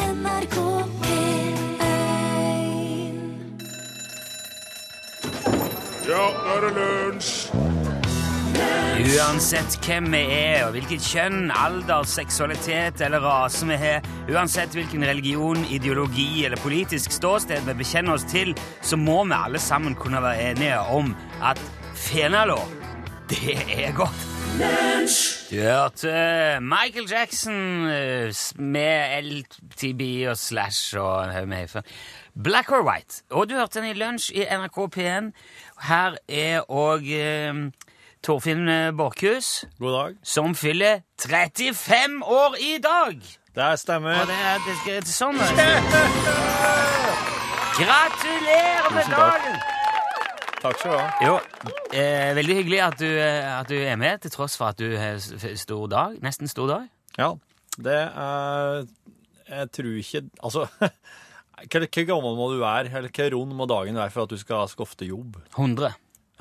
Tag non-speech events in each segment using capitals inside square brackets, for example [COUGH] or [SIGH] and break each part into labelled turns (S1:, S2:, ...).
S1: NRK P1
S2: Ja, nå er det lunsj!
S3: Uansett hvem vi er, og hvilket kjønn, alder, seksualitet eller rase vi har, uansett hvilken religion, ideologi eller politisk ståsted vi bekjenner oss til, så må vi alle sammen kunne være enige om at fenalår, det er godt. Du hørte eh, Michael Jackson eh, s- med LTB og Slash og en haug med heifer. Black or White. Og du hørte den i lunsj i NRK P1. Her er òg eh, Torfinn eh, Borchhus,
S4: God dag.
S3: som fyller 35 år i dag!
S4: Det stemmer.
S3: Og det er, det skal, det er sånn det
S4: [LAUGHS]
S3: er. Gratulerer med
S4: Tusen takk.
S3: dagen!
S4: Takk skal du ha.
S3: Jo, eh, veldig hyggelig at du, eh, at du er med, til tross for at du har s- f- stor dag. Nesten stor dag.
S4: Ja, det er Jeg tror ikke Altså [LAUGHS] Hvor hvor gammel må du være, eller hvor rund må dagen være for at du skal skofte jobb?
S3: 100.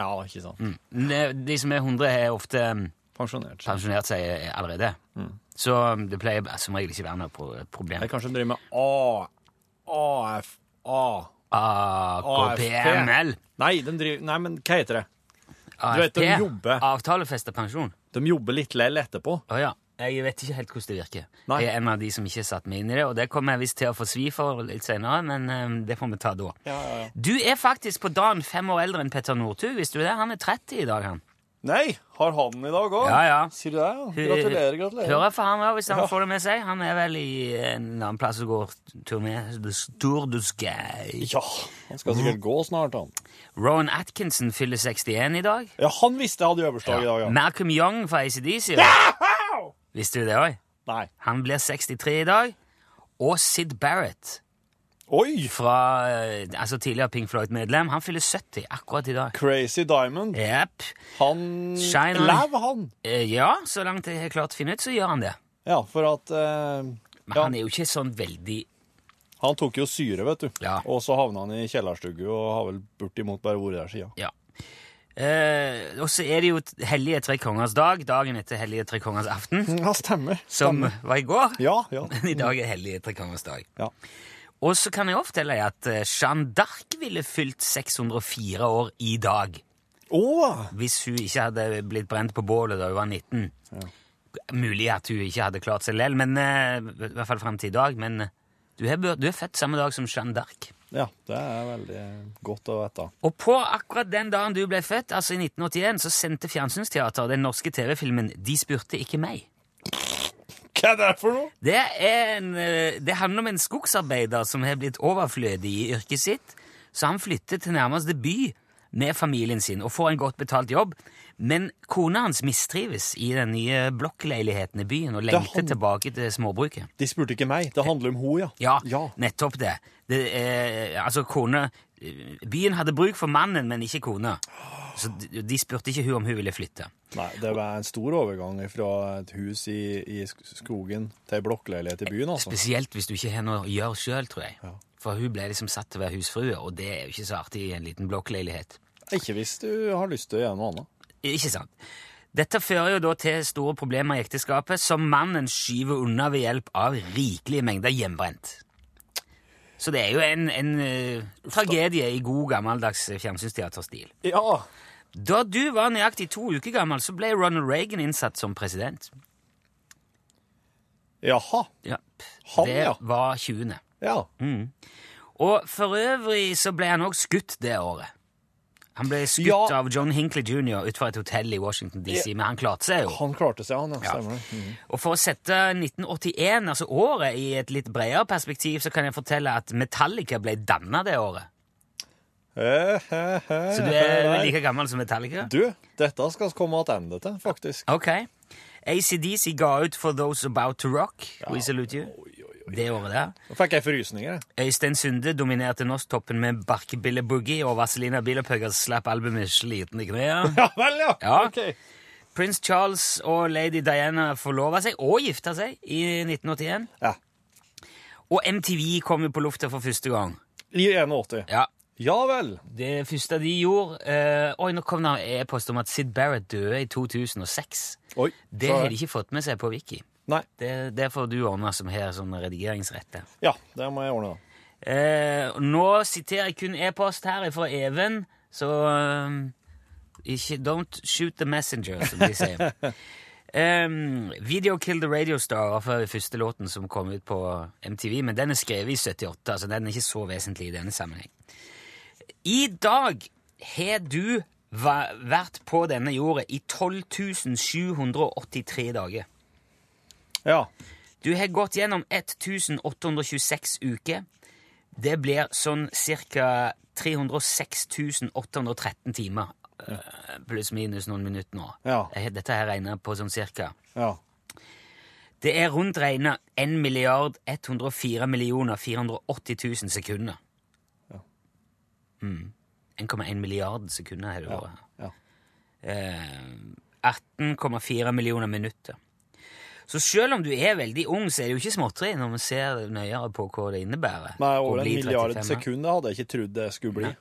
S4: Ja, ikke sant?
S3: Mm. Ne- eh, De som er 100, er ofte mm,
S4: Pensjonert.
S3: pensjonert seg eh, allerede. Så mm, det pleier eh, som regel ikke være noe pro- problem.
S4: Mm. Jeg kanskje driver med A... AF... A...
S3: AKPML.
S4: Nei, de driver Nei, men hva heter det?
S3: AFP.
S4: Du vet, de jobber.
S3: Avtalefesta pensjon.
S4: De jobber litt lell etterpå.
S3: Å ja. Jeg vet ikke helt hvordan det virker.
S4: Nei.
S3: Jeg er en av de som ikke har satt meg inn i det, og det kommer jeg visst til å få svi for litt senere, men eh, det får vi ta da. Du er faktisk på dagen fem år eldre enn Petter Northug, visste du det? Han er 30 i dag, han.
S5: Nei, har han den i dag òg?
S3: Ja, ja.
S5: Sier du det? ja? Gratulerer, gratulerer.
S3: Hører for han også, hvis han får det med seg. Han er vel i en annen plass og går turné. The Tour du Sky.
S5: Ja, han skal
S3: Mm.
S5: sikkert gå snart, han.
S3: Rowan Atkinson fyller 61 i dag.
S5: Ja, han visste jeg hadde øversdag i dag, ja.
S3: Malcolm Young fra ACDC. Visste du det òg?
S5: Nei.
S3: Han blir 63 i dag. Og Sid Barrett,
S5: Oi!
S3: fra, eh, altså tidligere Pink Floyd-medlem, han fyller 70 akkurat i dag.
S5: Crazy Diamond.
S3: Jepp.
S5: Han
S3: Shine on.
S5: Lev, han!
S3: Eh, Ja, så langt jeg har klart å finne ut, så gjør han det.
S5: Ja, for at eh,
S3: Men
S5: ja,
S3: han er jo ikke sånn veldig
S5: Han tok jo syre, vet du.
S3: Ja.
S5: Og så havna han i kjellerstugge og har vel bortimot bare vært der sida.
S3: Ja. Eh, og så er det jo t- Hellige tre kongers dag, dagen etter Hellige tre kongers aften,
S5: [LAUGHS] Ja, stemmer.
S3: som var i går.
S5: Ja, ja.
S3: Men [LAUGHS] i dag er Hellige tre kongers dag.
S5: Ja.
S3: Og så kan jeg også fortelle deg at eh, Jeanne d'Arc ville fylt 604 år i dag
S5: Å!
S3: hvis hun ikke hadde blitt brent på bålet da hun var 19. Mulig at hun ikke hadde klart seg lell, men eh, i hvert fall frem til i dag. Men eh, du er, bør- du er født samme dag som Jeanne d'Arc.
S5: Ja, det er veldig godt å vite.
S3: Og på akkurat den dagen du ble født, altså i 1981, så sendte Fjernsynsteateret den norske TV-filmen De spurte ikke meg.
S5: Hva er det for noe?
S3: Det, er en, eh, det handler om en skogsarbeider som har blitt overflødig i yrket sitt, så han flytter til nærmeste by med familien sin og får en godt betalt jobb. Men kona hans mistrives i den nye blokkleiligheten i byen og lengter
S5: han-
S3: tilbake til småbruket.
S5: De spurte ikke meg. Det handler om ho, ja.
S3: Ja,
S5: ja.
S3: nettopp det. det eh, altså, kone eh, Byen hadde bruk for mannen, men ikke kona. Så de, de spurte ikke hun om hun ville flytte.
S5: Nei, det var en stor overgang fra et hus i, i sk- skogen til ei blokkleilighet i byen, altså.
S3: Spesielt hvis du ikke har noe å gjøre sjøl, tror jeg. For hun ble liksom satt til å være husfrue, og det er jo ikke så artig i en liten blokkleilighet.
S5: Ikke hvis du har lyst til å gjøre noe annet.
S3: Ikke sant? Dette fører jo da til store problemer i ekteskapet, som mannen skyver unna ved hjelp av rikelige mengder hjemmebrent. Så det er jo en, en eh, tragedie i god, gammeldags fjernsynsteaterstil.
S5: Ja!
S3: Da du var nøyaktig to uker gammel, så ble Ronald Reagan innsatt som president.
S5: Jaha.
S3: Ja.
S5: Han,
S3: det
S5: ja.
S3: var 20.
S5: Ja.
S3: Og for øvrig så ble han også skutt det året. Han ble skutt
S5: Ja.
S3: av John Hinckley jr. utenfor et hotell i Washington DC, men han klarte seg jo.
S5: Han klarte seg, han. Ja,
S3: Ja.
S5: stemmer det. Mhm.
S3: Og for å sette 1981, altså året, i et litt bredere perspektiv, så kan jeg fortelle at Metallica ble danna det året.
S5: Eh, eh, eh,
S3: Så du er
S5: eh,
S3: vel
S5: nei.
S3: like gammel som Metallica?
S5: Du, dette skal vi komme tilbake til, faktisk.
S3: Ok. ACDC ga ut For Those About To Rock, We Salute You, det året der.
S5: Nå fikk jeg frysninger, jeg.
S3: Øystein Sunde dominerte norsktoppen med Barkebille Boogie, og Vazelina Bilopphøggers slapp albumet Sliten i knærne.
S5: Ja vel, ja!
S3: Ja.
S5: Ok.
S3: Prins Charles og lady Diana forlova seg og gifta seg i 1981.
S5: Ja.
S3: Og MTV kom jo på lufta for første gang.
S5: I 81.
S3: Ja,
S5: Ja vel.
S3: Det første de gjorde eh, Oi, nå kom det en e-post om at Sid Barrett døde i 2006.
S5: Oi.
S3: Det
S5: så-
S3: har de ikke fått med seg på Wiki.
S5: Nei.
S3: Det, det får du ordne som har sånn redigeringsrette.
S5: Ja, det må jeg ordne, da.
S3: Eh, nå siterer jeg kun e-post her fra Even, så eh, ikke, Don't shoot the messenger, som de sier. Em, Video Kill the Radio Star var for første låten som kom ut på MTV, men den er skrevet i 78, så den er ikke så vesentlig i denne sammenheng. I dag har du va- vært på denne jorda i 12 783 dager.
S5: Ja.
S3: Du har gått gjennom 1826 uker. Det blir sånn ca. 306 813 timer. Eh, Pluss-minus noen minutter nå.
S5: Ja.
S3: Jeg har- Dette har jeg regna på sånn cirka.
S5: Ja.
S3: Det er rundt regna 1 milliard 104 millioner 480 000 sekunder. Mm. 1,1 milliard sekunder har det vært.
S5: ja.
S3: Eh, 18,4 millioner minutter. Så selv om du er veldig ung, så er det jo ikke småtteri når vi ser nøyere på hva det innebærer.
S5: Nei,
S3: å
S5: over en
S3: bli
S5: milliard
S3: 35.
S5: sekunder hadde jeg ikke trodd det skulle bli.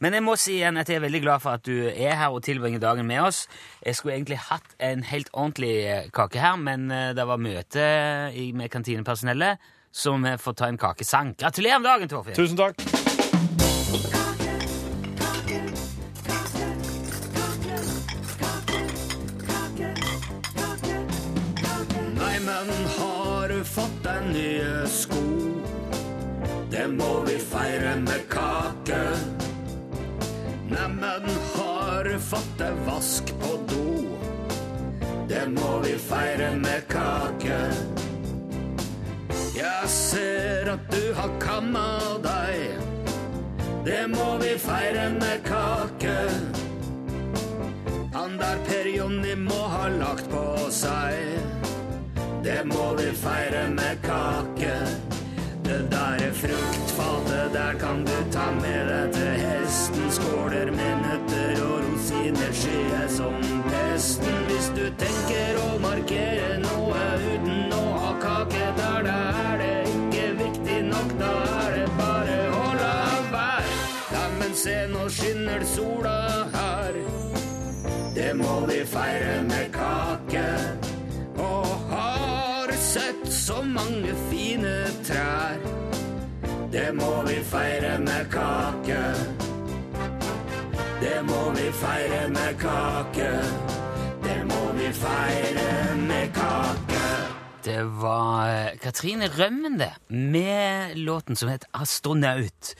S3: Men jeg må si igjen at jeg er veldig glad for at du er her og tilbringer dagen med oss. Jeg skulle egentlig hatt en helt ordentlig eh, kake her, men eh, det var møte i- med kantinepersonellet, så vi får ta en kakesang. Gratulerer med dagen, Torfinn!
S5: Tusen takk.
S1: Nei, men har du fått deg nye sko? Det må vi feire med kake. Neimen, har du fått deg vask på do? Det må vi feire med kake. Jeg ser at du har kamma deg. Det må vi feire med kake. Han der Per Jonny må ha lagt på seg. Det må vi feire med kake. Det der er fruktfatet, der kan du ta med deg til hesten. Skåler med nøtter og rosiner skyer som pesten. Hvis du tenker å markere noe uten å ha kake der, da er det ikke viktig nok. Da er det bare å la være. Ja, men se, nå skinner sola her. Det må vi feire med kake. Og har sett så mange fine trær. Det må vi feire med kake. Det må vi feire med kake. Det må vi feire med kake.
S3: Det var eh, Katrine Rømmen, det, med låten som het Astronaut.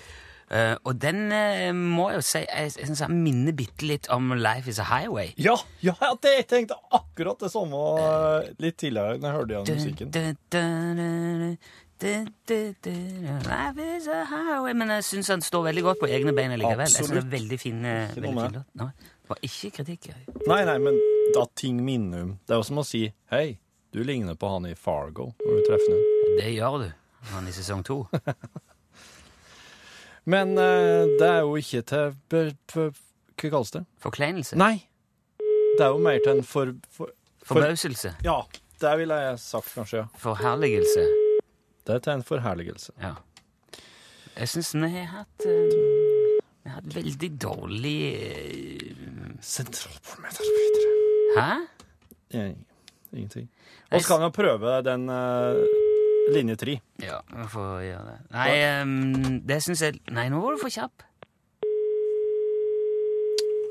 S3: Eh, og den eh, må jeg jo si jeg, jeg synes jeg minner bitte litt om Life is a Highway.
S5: Ja, ja, det jeg tenkte akkurat det samme eh, litt tidligere når jeg hørte igjen musikken.
S3: Life is a highway Men jeg syns han står veldig godt på egne bein likevel. Jeg synes det er veldig fin, eh,
S5: noe
S3: veldig
S5: med.
S3: fin låt. Nei, det var ikke kritikk. jeg.
S5: Nei, nei, men da ting minner om Det er jo som å si Hei, du ligner på han i Fargo når du treffer ham.
S3: Det gjør du. Han i sesong to.
S5: Men eh, det er jo ikke til be, be, Hva kalles det?
S3: Forkleinelse.
S5: Nei. Det er jo mer til en for, for
S3: Forbauselse.
S5: Ja, det ville jeg sagt, kanskje. ja.
S3: Forherligelse.
S5: Det er til en forherligelse.
S3: Ja. Jeg syns vi har hatt eh, Vi har hatt veldig dårlig eh,
S5: Sentralpolmeterspidere.
S3: Hæ?
S5: Ingenting. Og så kan vi jo prøve den eh, linje tre.
S3: Ja, vi får gjøre det. Nei, ehm, det syns jeg Nei, nå var du for kjapp.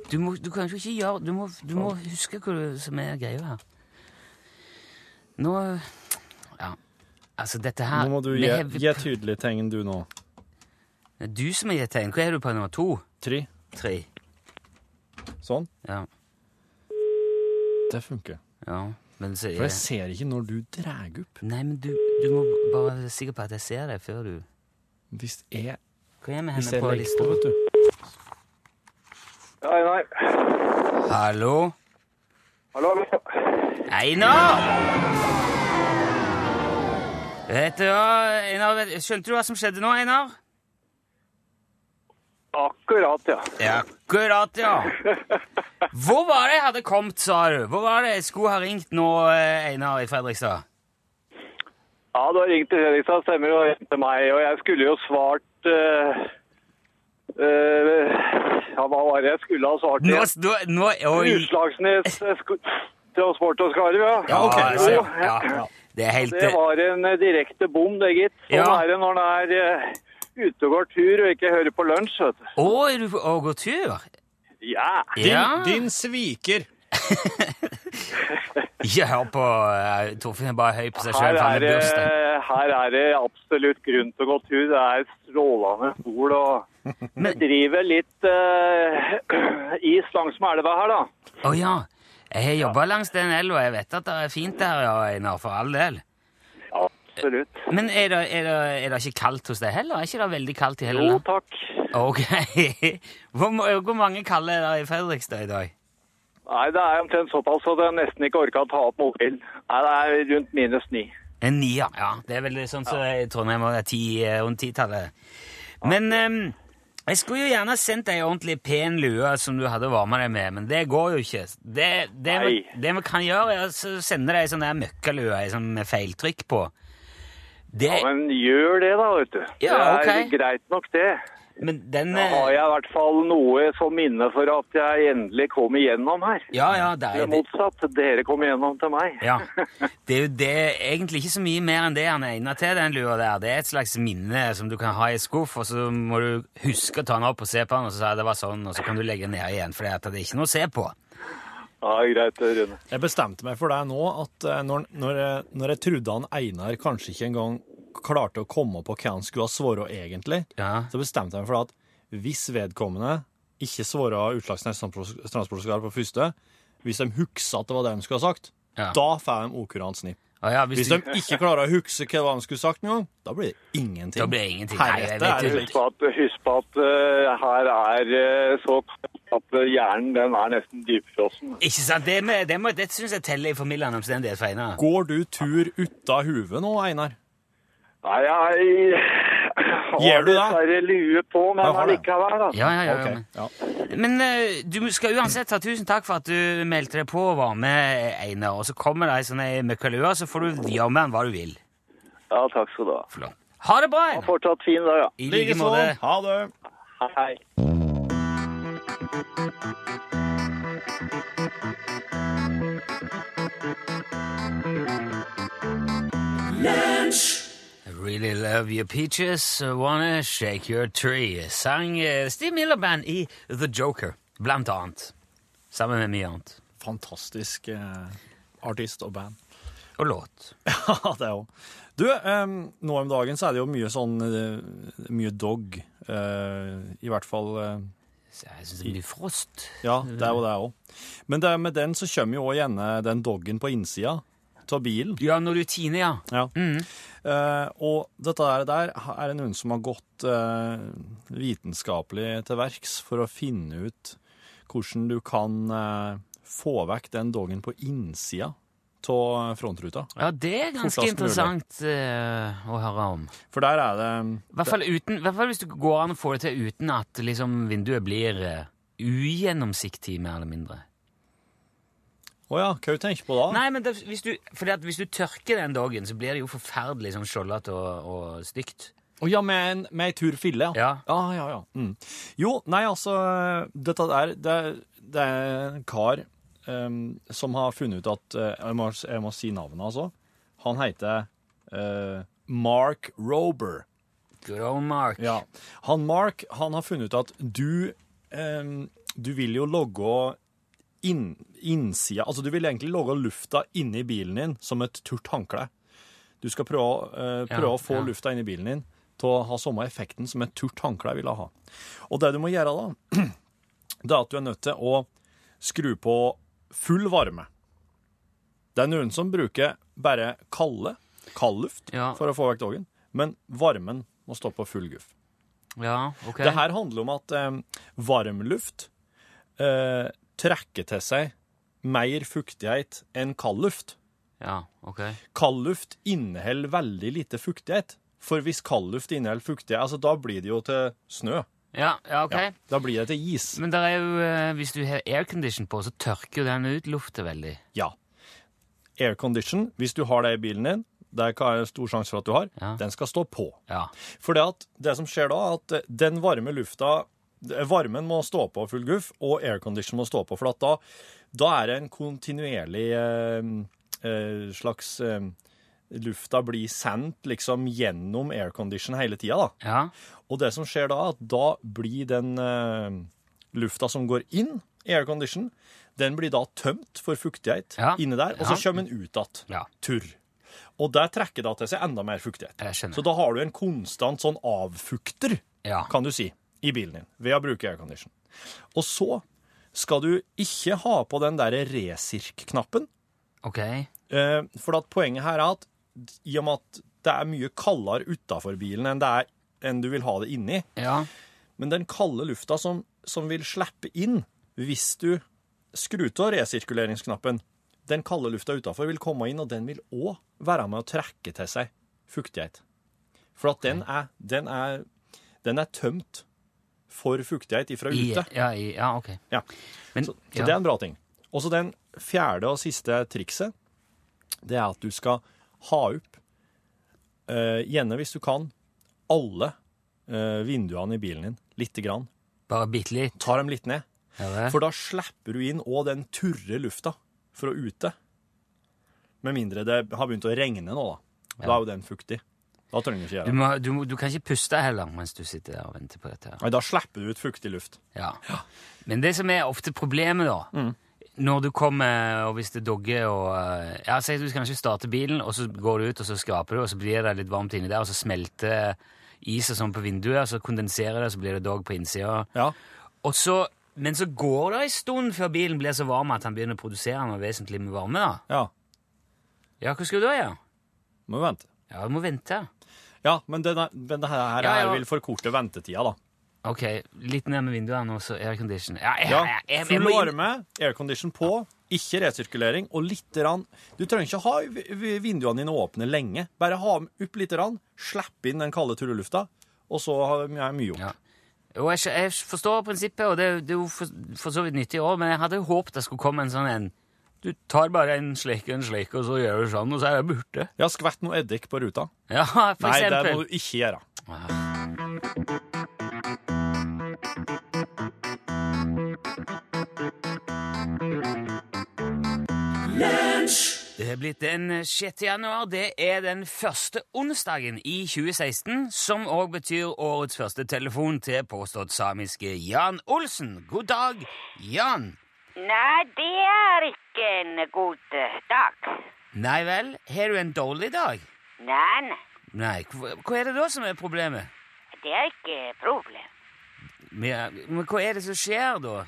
S3: Du, må, du kan jo ikke gjøre Du må, du må huske hva du- som er greia her. Nå Ja, altså, dette her
S5: Nå må du
S3: vi
S5: gi,
S3: har-
S5: gi tydelig tegn, du nå.
S3: Det er Du som har gitt tegn. Hva er du på nummer to?
S5: Tre.
S3: Tre?
S5: Sånn.
S3: Ja.
S5: Det funker.
S3: ja. Men så
S5: For
S3: er
S5: jeg ser ikke når du drar opp.
S3: Nei, men du, du må bare være sikker på at jeg ser deg før du
S5: Hvis jeg,
S3: Hva er med
S5: hvis
S3: henne
S5: jeg
S3: på
S5: legger
S3: lista?
S5: på, vet du.
S6: Nei, nei.
S3: Hallo?
S6: Hallo, hallo.
S3: Einar! Vet du hva, Einar, vet- skjønte du hva som skjedde nå, Einar?
S6: Akkurat, ja.
S3: Akkurat, ja. Hvor var det jeg hadde kommet, sa du? Hvor var det jeg skulle ha ringt nå, eh, Einar i Fredrikstad?
S6: Ja, du har ringt til Fredrikstad, stemmer og ringt til meg. Og jeg skulle jo svart eh, eh, Ja, hva var det jeg skulle ha svart?
S3: Nå,
S6: igjen?
S3: s- nå, nå oi.
S6: Utslagsnes eh, sk- Transport og Skarv, ja.
S3: Ja,
S5: ok.
S3: altså,
S6: Jo,
S3: ja. Det er helt
S6: Det var en eh, direkte bom, det, gitt. Sånn
S3: Ja.
S6: er det når en er eh, ute og går tur og ikke hører på lunsj, vet du.
S3: eh, Å, er du på å, går tur?
S6: Ja.
S5: Din,
S3: Ja.
S5: din sviker.
S3: Ikke hør på eh, Torfinn, er bare høy på seg
S6: Her
S3: sjøl.
S6: er, det- her er det absolutt grunn til å gå tur. Det er strålende sol
S3: [LAUGHS]
S6: og Det driver litt eh, [CLEARS THROAT] is langsmed elva her, da.
S3: Å ja. Jeg har jobba langs den elva, jeg vet at det er fint der, ja, Einar, for all del.
S6: Absolutt.
S3: Men er det, er, det, er det ikke kaldt hos deg heller? Er ikke det veldig kaldt i hele
S6: Jo,
S3: landet?
S6: takk.
S3: Ok. [LAUGHS] Hvor, ma- hvor mange kalde er det i Fredrikstad i dag?
S6: Nei, det er omtrent såpass at jeg nesten ikke orka å ta opp mobilen. Nei, det er rundt minus ni.
S3: En nier, ja. Det er vel sånn som i Trondheim og det er ti, eh, rundt titallet. Men ehm, jeg skulle jo gjerne sendt deg en ordentlig pen lue som du hadde varma deg med, men det går jo ikke. Det, det, vi,
S6: Nei.
S3: det vi kan gjøre, er å sende deg en sånn der møkkalue ei sånn med feiltrykk på. Det,
S6: Ja,
S3: men,
S6: men gjør det, da, vet du.
S3: Ja,
S6: Det
S3: ok.
S6: er greit nok, det.
S3: den
S6: Da
S3: eh,
S6: har jeg i hvert fall noe som minne for at jeg endelig kom igjennom her.
S3: Ja, ja, det
S6: Det er
S3: er det.
S6: motsatt. Dere kom igjennom til meg.
S3: Ja. Det er jo det, egentlig ikke så mye mer enn det han er egnet til, den lua der. Det er et slags minne som du kan ha i skuff, og så må du huske å ta den opp og se på den, og så sa jeg det var sånn, og så kan du legge den ned igjen, for det er at det er ikke noe å se på.
S6: [LAUGHS] Ja, greit, Rune.
S5: Jeg bestemte meg for det nå, at eh, når, når, jeg- når jeg trodde han Einar kanskje ikke engang klarte å komme på hva han skulle ha svart egentlig,
S3: Ja.
S5: så bestemte jeg meg for det at hvis vedkommende ikke svara utslagsnes transportskar på første, hvis de huksa at det var det de skulle ha sagt,
S3: Ja.
S5: da får de okurant snipp.
S3: Å ja, hvis
S5: Hvis
S3: du,
S5: de ikke klarer å hukse hva de skulle sagt engang, da blir det ingenting.
S3: Da blir det ingenting. Nei, jeg
S5: Heretter
S3: vet jo-
S5: er det
S6: Husk på at, husk på at eh, her er eh, så kaldt at eh, hjernen den er nesten dypfrossen.
S3: ikke sant? Det, med, det, må, det synes jeg teller i formidlende omstendighet for Einar.
S5: Går du tur uta huvet nå, Einar?
S6: Nei, jeg
S5: Gjør du det?
S6: Dessverre lue på,
S5: Jeg
S6: men
S5: har det.
S6: allikevel, da.
S3: Ja, ja, ja. ja,
S5: Ok, ja.
S3: Men, men eh, du skal uansett ha tusen takk for at du meldte deg på og var med, Einar. Og så kommer det ei sånn ei møkkalue, så får du gjøre med den hva du vil.
S6: Ja, takk skal du ha.
S3: Flott. Ha det bra,
S6: Ha
S3: Einar!
S6: Fortsatt fin dag, ja.
S3: I like måte.
S5: sånn. Ha det.
S6: Hei.
S3: I really love your peaches, I wanna shake your tree. Sang eh, Steve Miller Band i The Joker, blant annet. Sammen med mye annet.
S5: Fantastisk eh, artist og band.
S3: Og låt.
S5: [LAUGHS] Ja, det òg. Du, em, nå om dagen så er det jo mye sånn eh, Mye dog. eh, I hvert fall eh,
S3: Så jeg synes det blir frost.
S5: Ja, det er jo det òg. Men det, med den så kommer jo òg gjerne den doggen på innsida av bilen.
S3: Ja, når du tiner, ja.
S5: Ja. Eh, og dette der, der er det noen som har gått eh, vitenskapelig til verks for å finne ut hvordan du kan eh, få vekk den doggen på innsida av frontruta.
S3: Ja, det er ganske
S5: Fortest mulig.
S3: interessant eh, å høre om.
S5: For der er det
S3: I hvert fall, uten, i hvert fall hvis du går an å få det til uten at liksom, vinduet blir eh, ugjennomsiktig, mer eller mindre.
S5: Å ja, hva du tenker du på da?
S3: Nei, men det, hvis, du, fordi at hvis du tørker den dagen, så blir det jo forferdelig sånn skjoldete og, og stygt.
S5: Å ja, med en, med en tur fille,
S3: Ja.
S5: ja, ja, ja. Mm. Jo, nei, altså, dette der, det, det er en kar em, som har funnet ut at, eh, jeg, må, jeg må si navnet, altså. Han heter eh, Mark Rober.
S3: Good old Mark.
S5: Ja. Han Mark, han har funnet ut at du, em, du vil jo logge inn, innsida, altså du vil egentlig logge lufta inni bilen din som et turt håndkle. Du skal prøve, eh,
S3: Ja,
S5: prøve å få
S3: ja.
S5: lufta inni bilen din til å ha samme effekten som et turt håndkle ville ha. Og det du må gjøre da, det er at du er nødt til å skru på full varme. Det er noen som bruker bare kalde, kald luft
S3: Ja.
S5: for å få vekk dagen, men varmen må stå på full guff.
S3: Ja, ok.
S5: Det her handler om at eh, varm luft eh, trekker til seg mer fuktighet enn kald luft.
S3: Ja, ok.
S5: Kald luft inneholder veldig lite fuktighet. For hvis kald luft inneholder fuktighet, altså da blir det jo til snø.
S3: Ja, ja, ok.
S5: Ja, da blir det til is.
S3: Men der er jo, eh, hvis du har aircondition på, så tørker jo den ut luftet veldig.
S5: Ja. Aircondition, hvis du har det i bilen din, det er det stor sjanse for at du har,
S3: Ja.
S5: den skal stå på.
S3: Ja.
S5: For det, at, det som skjer da, er at eh, den varme lufta eh, Varmen må stå på full guff, og aircondition må stå på. For at da, da er det en kontinuerlig eh, eh, slags eh, lufta blir sendt liksom gjennom aircondition hele tida, da.
S3: Ja.
S5: Og det som skjer da, er at da blir den eh, lufta som går inn i aircondition, den blir da tømt for fuktighet
S3: Ja.
S5: inni der, og så
S3: Ja.
S5: kommer den ut igjen.
S3: Ja.
S5: Turr. Og der trekker da til seg enda mer fuktighet.
S3: Jeg skjønner.
S5: Så da har du en konstant sånn avfukter,
S3: Ja.
S5: kan du si, i bilen din, ved å bruke aircondition. Og så skal du ikke ha på den der resirk-knappen,
S3: OK.
S5: Eh, for at poenget her er at i og med at det er mye kaldere utafor bilen enn, det er, enn du vil ha det inni,
S3: Ja.
S5: men den kalde lufta som, som vil slippe inn hvis du skrur av resirkuleringsknappen, den kalde lufta utafor vil komme inn, og den vil òg være med å trekke til seg fuktighet. For at den er, den er, den er tømt for fuktighet ifra
S3: I,
S5: ute.
S3: ja, i, ja, OK.
S5: Ja.
S3: Men,
S5: Så, så
S3: ja.
S5: det er en bra ting. Og så den fjerde og siste trikset, det er at du skal ha opp, eh, gjerne hvis du kan, alle eh, vinduene i bilen din, lite grann.
S3: Bare bitte litt.
S5: Ta dem litt ned,
S3: Ja, det.
S5: for da slipper du inn òg den turre lufta fra ute. Med mindre det har begynt å regne nå, da. Da er jo den fuktig. Da trenger du ikke
S3: Du,
S5: gjøre det.
S3: må, du, må- du kan ikke puste heller mens du sitter der og venter på dette. her.
S5: Nei, Da slipper du ut fuktig luft.
S3: Ja. Men det som er ofte problemet, da
S5: Mm.
S3: Når du kommer, og hvis det dogger og eh, ja, Si at du kanskje starter bilen, og så går du ut, og så skraper du, og så blir det litt varmt inni der, og så smelter is og sånn på vinduet, og så kondenserer det, og så blir det dog på innsida.
S5: Ja.
S3: Og så, men så går det en stund før bilen blir så varm at han begynner å produsere noe vesentlig med varme. da.
S5: Ja.
S3: Ja, hva skal du da gjøre?
S5: Må vente.
S3: Ja, du må vente.
S5: Ja, men det, der- men det her, her
S3: Ja, ja.
S5: vil forkorte ventetida, da.
S3: Ok, litt ned med vinduene og så aircondition. Ja, jeg,
S5: Ja,
S3: jeg, jeg, jeg,
S5: Full
S3: må inn-
S5: varme, aircondition på, ikke resirkulering, og litt rann. Du trenger ikke ha vi- vi- vinduene dine åpne lenge. Bare ha dem opp litt, rann, slipp inn den kalde turrelufta, og så har jeg mye gjort.
S3: Ja. Jo, jeg, skj- jeg forstår prinsippet, og det, det er jo for, for så vidt nyttig i år, men jeg hadde jo håpet det skulle komme en sånn en Du tar bare en slik og en slik, og så gjør du sånn, og så er det borte. [LAUGHS]
S5: Ja, skvett noe eddik på ruta.
S3: Ja, for
S5: Nei, det
S3: eksempel.
S5: må du ikke gjøre.
S3: Det er blitt den 6. januar. Det er den første onsdagen i 2016, som òg betyr årets første telefon til påstått samiske Jan Olsen. God dag, Jan.
S7: Nei, det er ikke en god eh, dag.
S3: Nei vel, har du en dårlig dag?
S7: Nei, nei,
S3: Nei, hva hva er det da som er problemet?
S7: det er ikke problem.
S3: Men, men hva er det som skjer da?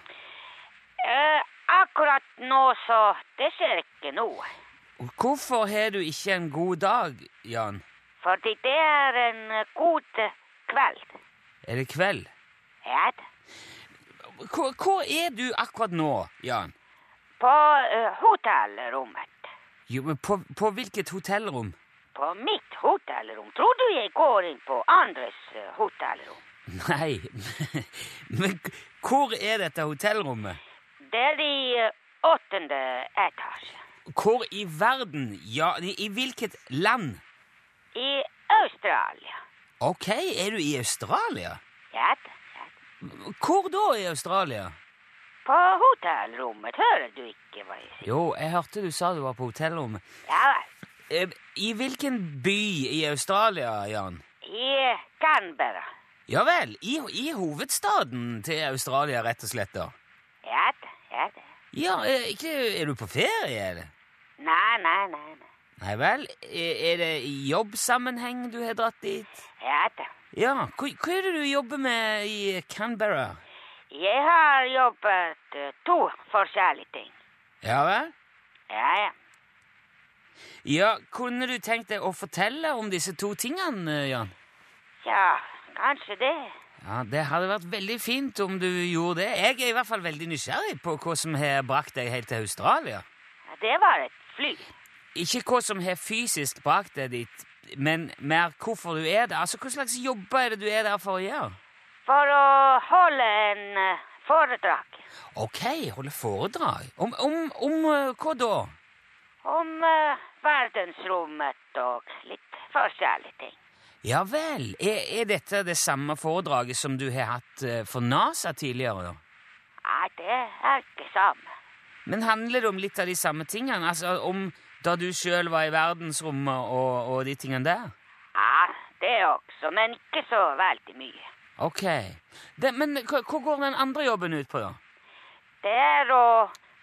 S7: Eh, akkurat nå så det skjer ikke noe.
S3: Og Hvorfor har du ikke en god dag, Jan?
S7: Fordi det er en eh, god eh, kveld.
S3: Er det kveld?
S7: Ja, da.
S3: Hvor, hvor er du akkurat nå, Jan?
S7: på eh, hotellrommet.
S3: Jo, men på, på hvilket hotellrom? [LAUGHS]
S7: På mitt hotellrom. Tror du jeg går inn på andres eh, hotellrom?
S3: Nei, [LAUGHS] men k- hvor er dette hotellrommet?
S7: Det er i eh, åttende etasje.
S3: Hvor i verden, ja, i, i hvilket land?
S7: I Australia.
S3: Ok, er du i Australia?
S7: Ja, da. ja, da.
S3: Hvor da i Australia?
S7: På hotellrommet. Hører du ikke hva jeg sier?
S3: Jo, jeg hørte du sa du var på hotellrommet.
S7: Ja vel.
S3: Eh, I hvilken by i Australia, Jan?
S7: I Canberra.
S3: Ja vel, i, i hovedstaden til Australia, rett og slett, da.
S7: Ja da, ja da.
S3: Ja, eh, ikke Er du på ferie, eller?
S7: Nei, nei, nei. nei.
S3: Nei vel. Er er det i jobbsammenheng du har dratt dit?
S7: Ja da.
S3: Ja. Hva, hva er det du jobber med i Canberra?
S7: Jeg har jobbet eh, to forskjellige ting.
S3: Ja vel?
S7: Ja, ja.
S3: Ja, Kunne du tenkt deg å fortelle om disse to tingene, Jan?
S7: Ja, kanskje det.
S3: Ja, Det hadde vært veldig fint om du gjorde det. Jeg er i hvert fall veldig nysgjerrig på hva som har brakt deg helt til Australia.
S7: Ja, Det var et fly.
S3: Ikke hva som har fysisk brakt deg dit, men mer hvorfor du er der. Altså, Hva slags jobber er det du er der for å gjøre?
S7: For å holde en eh, foredrag
S3: Ok, holde foredrag. Om, om, om eh, hva da?
S7: om eh, verdensrommet og litt forskjellige ting.
S3: Ja vel. Er, er dette det samme foredraget som du har hatt eh, for NASA tidligere? da?
S7: Nei, det er ikke samme.
S3: Men handler det om litt av de samme tingene? Altså om da du sjøl var i verdensrommet og, og de tingene der?
S7: Ja, det også, men ikke så veldig mye.
S3: Ok. Det, men hva hva går den andre jobben ut på, da?
S7: Det er å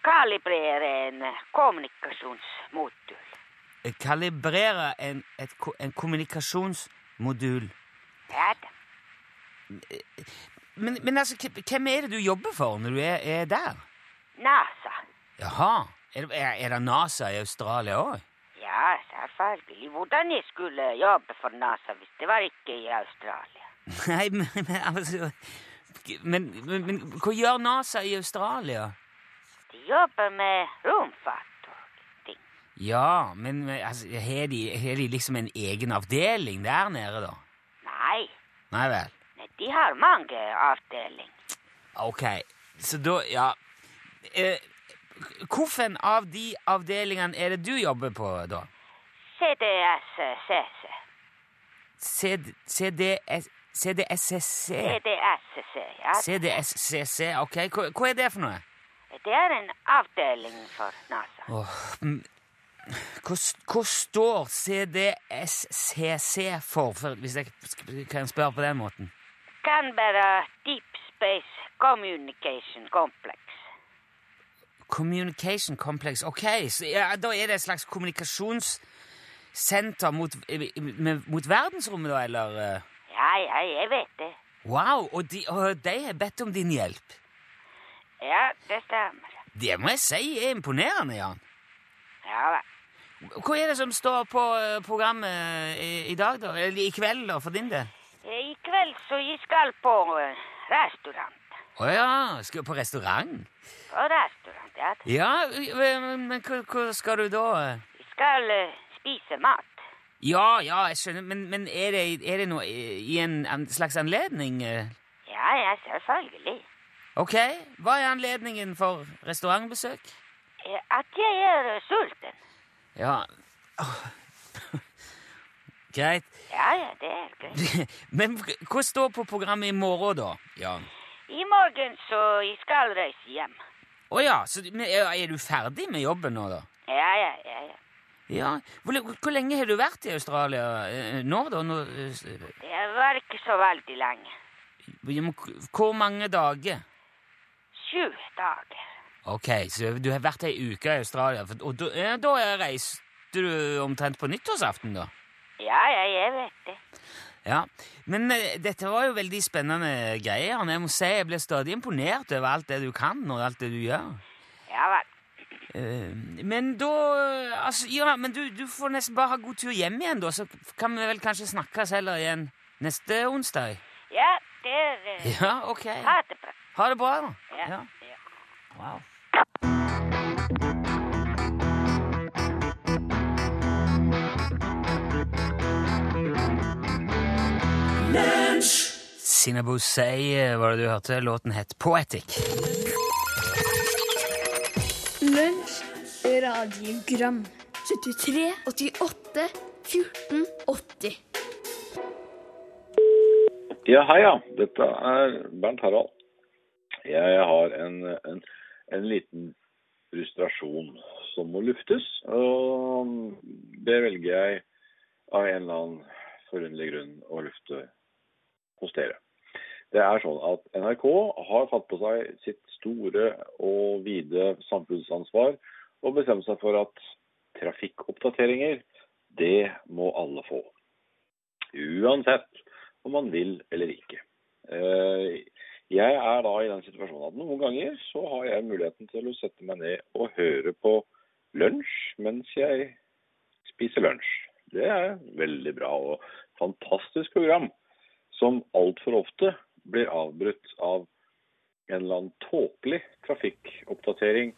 S7: kalibrere en eh, kommunikasjonsmotor.
S3: Kalibrere en, et, ko- en kommunikasjonsmodul.
S7: Ja, da.
S3: Men, men altså, hvem- hvem er det du jobber for når du er, er der?
S7: NASA.
S3: Jaha. Er, det- er, er det NASA i Australia òg?
S7: Ja, selvfølgelig. Hvordan jeg skulle jobbe for NASA hvis det var ikke i Australia?
S3: [LAUGHS] Nei, men, men altså men, men, men hva gjør NASA i Australia?
S7: De jobber med romfart og ting.
S3: Ja, men men, altså, har de, har de liksom en egen avdeling der nede, da?
S7: Nei,
S3: Nei vel.
S7: nei, de har mange avdeling.
S3: Ok, så da, ja eh, Hvilken av de avdelingene er det du jobber på, da?
S7: CDSCC.
S3: CD, CDS, CDSCC?
S7: CDSCC, ja.
S3: CDSCC, ok. Hva, hva er det for noe?
S7: Det er en avdeling for NASA.
S3: Åh, mm. hva, s- hva står CDSCC for, for, hvis jeg sk- kan spørre på den måten?
S7: Canberra Deep Space Communication Complex.
S3: Communication Complex, ok. Så, ja, da er det et slags kommunikasjonssenter mot, eh, med- mot verdensrommet, da, eller? eh?
S7: Ja, ja, jeg vet det.
S3: Wow, og de, og de har bedt om din hjelp.
S7: Ja, det stemmer.
S3: Det må jeg si er imponerende, Jan.
S7: Ja, vel.
S3: Hva er det som står på eh, programmet i, i dag, da? Eller i kveld, da, for din del?
S7: I kveld så jeg skal på eh, restaurant.
S3: Å ja, skal du på restaurant?
S7: På restaurant, ja.
S3: Ja, eh, men men hva, hva skal du da? eh?
S7: Vi skal eh, spise mat.
S3: Ja, ja, jeg skjønner, men, men er, det, er det noe i i en, an- slags anledning? eh?
S7: Ja, ja, selvfølgelig.
S3: Ok, hva er anledningen for restaurantbesøk?
S7: Eh, At jeg er eh, sulten.
S3: Ja [LAUGHS] Greit. [LAUGHS]
S7: Ja, ja, det er greit.
S3: Men hva står på programmet i morgen, da? Jan?
S7: I morgen så jeg skal reise hjem.
S3: Å ja, så du- men er er du ferdig med jobben nå, da?
S7: Ja, ja, ja, ja.
S3: Ja. Hvor, le- hvor lenge har du vært i Australia eh, nå, da? Nå, eh, s-
S7: Det var ikke så veldig lenge.
S3: ja, men k- hvor mange dager?
S7: Sju dager.
S3: Ok, så du har vært ei uke i Australia, for, og da, ja, da er- reiste du omtrent på nyttårsaften, da?
S7: Ja, ja, jeg vet det.
S3: Ja, Men eh, dette var jo veldig spennende greier. og Jeg må si jeg blir stadig imponert over alt det du kan, og alt det du gjør.
S7: Ja vel.
S3: Eh, Men da eh, altså, Ja, men du, du får nesten bare ha god tur hjem igjen, da. Så kan vi vel kanskje snakkes heller igjen neste onsdag?
S7: Ja, det er eh,
S3: Ja, ok.
S7: Ha det bra.
S3: Ha det bra, da.
S7: Ja, ja.
S3: Wow. Sinabo Say eh, var det du hørte. Låten het Poetic.
S8: Lunsj, radiogram 73, 88, 14, 80
S9: Ja, hei, ja. Dette er Bernt Harald. Jeg har en, en, en liten frustrasjon som må luftes. Og det velger jeg av en eller annen forunderlig grunn å lufte hos dere. Det er sånn at NRK har tatt på seg sitt store og vide samfunnsansvar og bestemt seg for at trafikkoppdateringer, det må alle få. Uansett om man vil eller ikke. Eh, Jeg er da i den situasjonen at noen ganger så har jeg muligheten til å sette meg ned og høre på lunsj mens jeg spiser lunsj. Det er veldig bra og fantastisk program som altfor ofte blir avbrutt av en eller annen tåpelig trafikkoppdatering.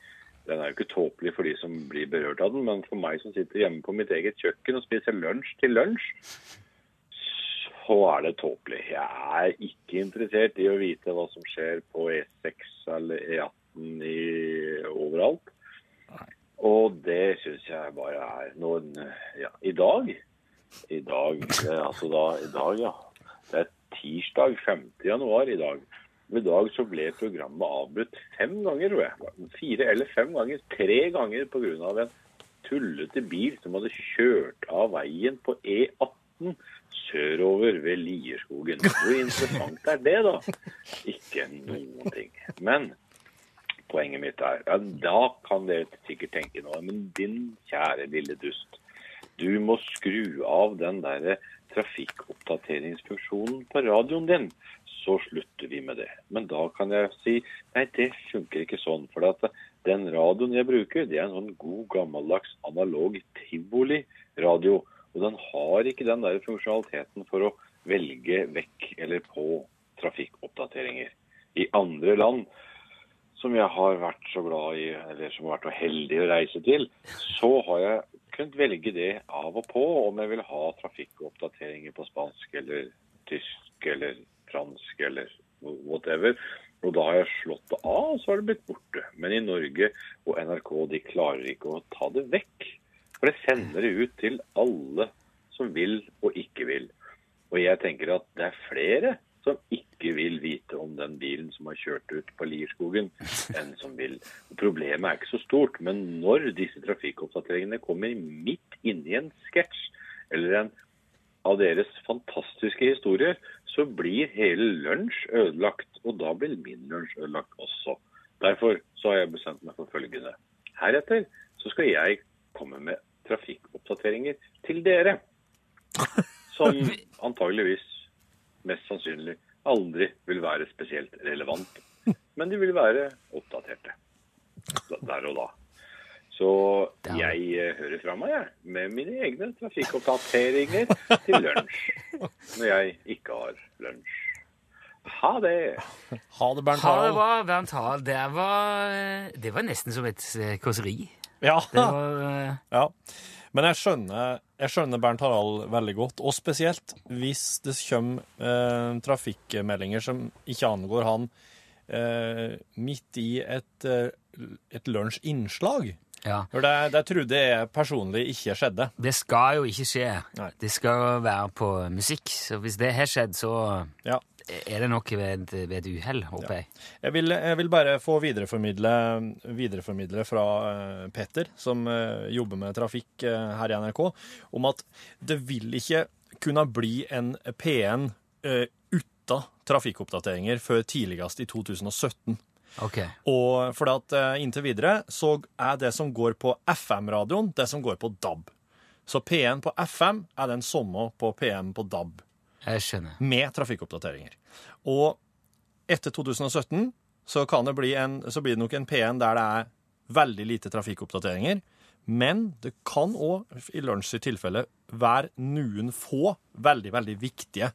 S9: Den er jo ikke tåpelig for de som blir berørt av den, men for meg som sitter hjemme på mitt eget kjøkken og spiser lunsj til lunsj, så er det tåpelig. Jeg er ikke interessert i å vite hva som skjer på E6 eller E18 i, overalt. Og det syns jeg bare er noen ja, I dag I dag, eh, altså da, i dag, ja. Det er tirsdag 5. januar i dag. I dag så ble programmet avbrutt fem ganger, tror jeg. Fire eller fem ganger. Tre ganger pga. en tullete bil som hadde kjørt av veien på E18 sørover ved Lierskogen. Hvor interessant er det, da? Ikke noen ting. Men poenget mitt er ja, Da kan dere sikkert tenke nå, men din kjære lille dust. Du må skru av den derre trafikkoppdateringsfunksjonen på radioen din. Så slutter vi med det. Men da kan jeg si nei, det funker ikke sånn. For at den radioen jeg bruker, det er en sånn god, gammeldags analog tivoli-radio. Og den har ikke den der funksjonaliteten for å velge vekk eller på trafikkoppdateringer. I andre land som jeg har vært så glad i, eller som har vært så heldig å reise til, så har jeg kunnet velge det av og på om jeg vil ha trafikkoppdateringer på spansk eller tysk eller fransk eller whatever. Og da har jeg slått det av, og så har det blitt borte. Men i Norge og NRK de klarer ikke å ta det vekk. For det sender det ut til alle som vil og ikke vil. Og jeg tenker at det er flere som ikke vil vite om den bilen som har kjørt ut på Lierskogen, enn som vil. Problemet er ikke så stort, men når disse trafikkoppdateringene kommer midt inni en sketsj eller en av deres fantastiske historier, så blir hele lunsj ødelagt. Og da blir min lunsj ødelagt også. Derfor så har jeg bestemt meg for følgende. Heretter så skal jeg komme med trafikkoppdateringer til dere. Som antageligvis mest sannsynlig aldri vil være spesielt relevant. Men de vil være oppdaterte Da- der og da. Så jeg eh, hører fra meg, jeg, med mine egne trafikkoppdateringer til lunsj. Når jeg ikke har lunsj. Ha det!
S5: Ha det, Bernt
S3: Ha det
S5: Harald.
S3: bra, Bernt Harald. Det var, eh, det var nesten som et eh, kåseri.
S5: Ja.
S3: Det var eh,
S5: ja. Men jeg skjønner, jeg skjønner Bernt Harald veldig godt, og spesielt hvis det kommer eh, trafikkmeldinger som ikke angår han eh, midt i et, eh, et lunsjinnslag.
S3: Ja.
S5: For det, det trodde jeg personlig ikke skjedde.
S3: Det skal jo ikke skje.
S5: Nei.
S3: Det skal være på musikk. Så hvis det har skjedd, så
S5: Ja.
S3: er det nok ved, et- ved et uhell, håper jeg.
S5: Jeg vil, jeg vil bare få videreformidle, videreformidle fra eh, Petter, som eh, jobber med trafikk eh, her i NRK, om at det vil ikke kunne bli en P1 eh, uten trafikkoppdateringer før tidligst i 2017.
S3: Ok.
S5: Og fordi at eh, inntil videre så er det som går på FM-radioen, det som går på DAB. Så P1 på FM er den samme på P1 på DAB
S3: Jeg skjønner.
S5: med trafikkoppdateringer. Og etter 2017 så, kan det bli en, så blir det nok en P1 der det er veldig lite trafikkoppdateringer, men det kan òg i lunsj sitt tilfelle være noen få veldig, veldig viktige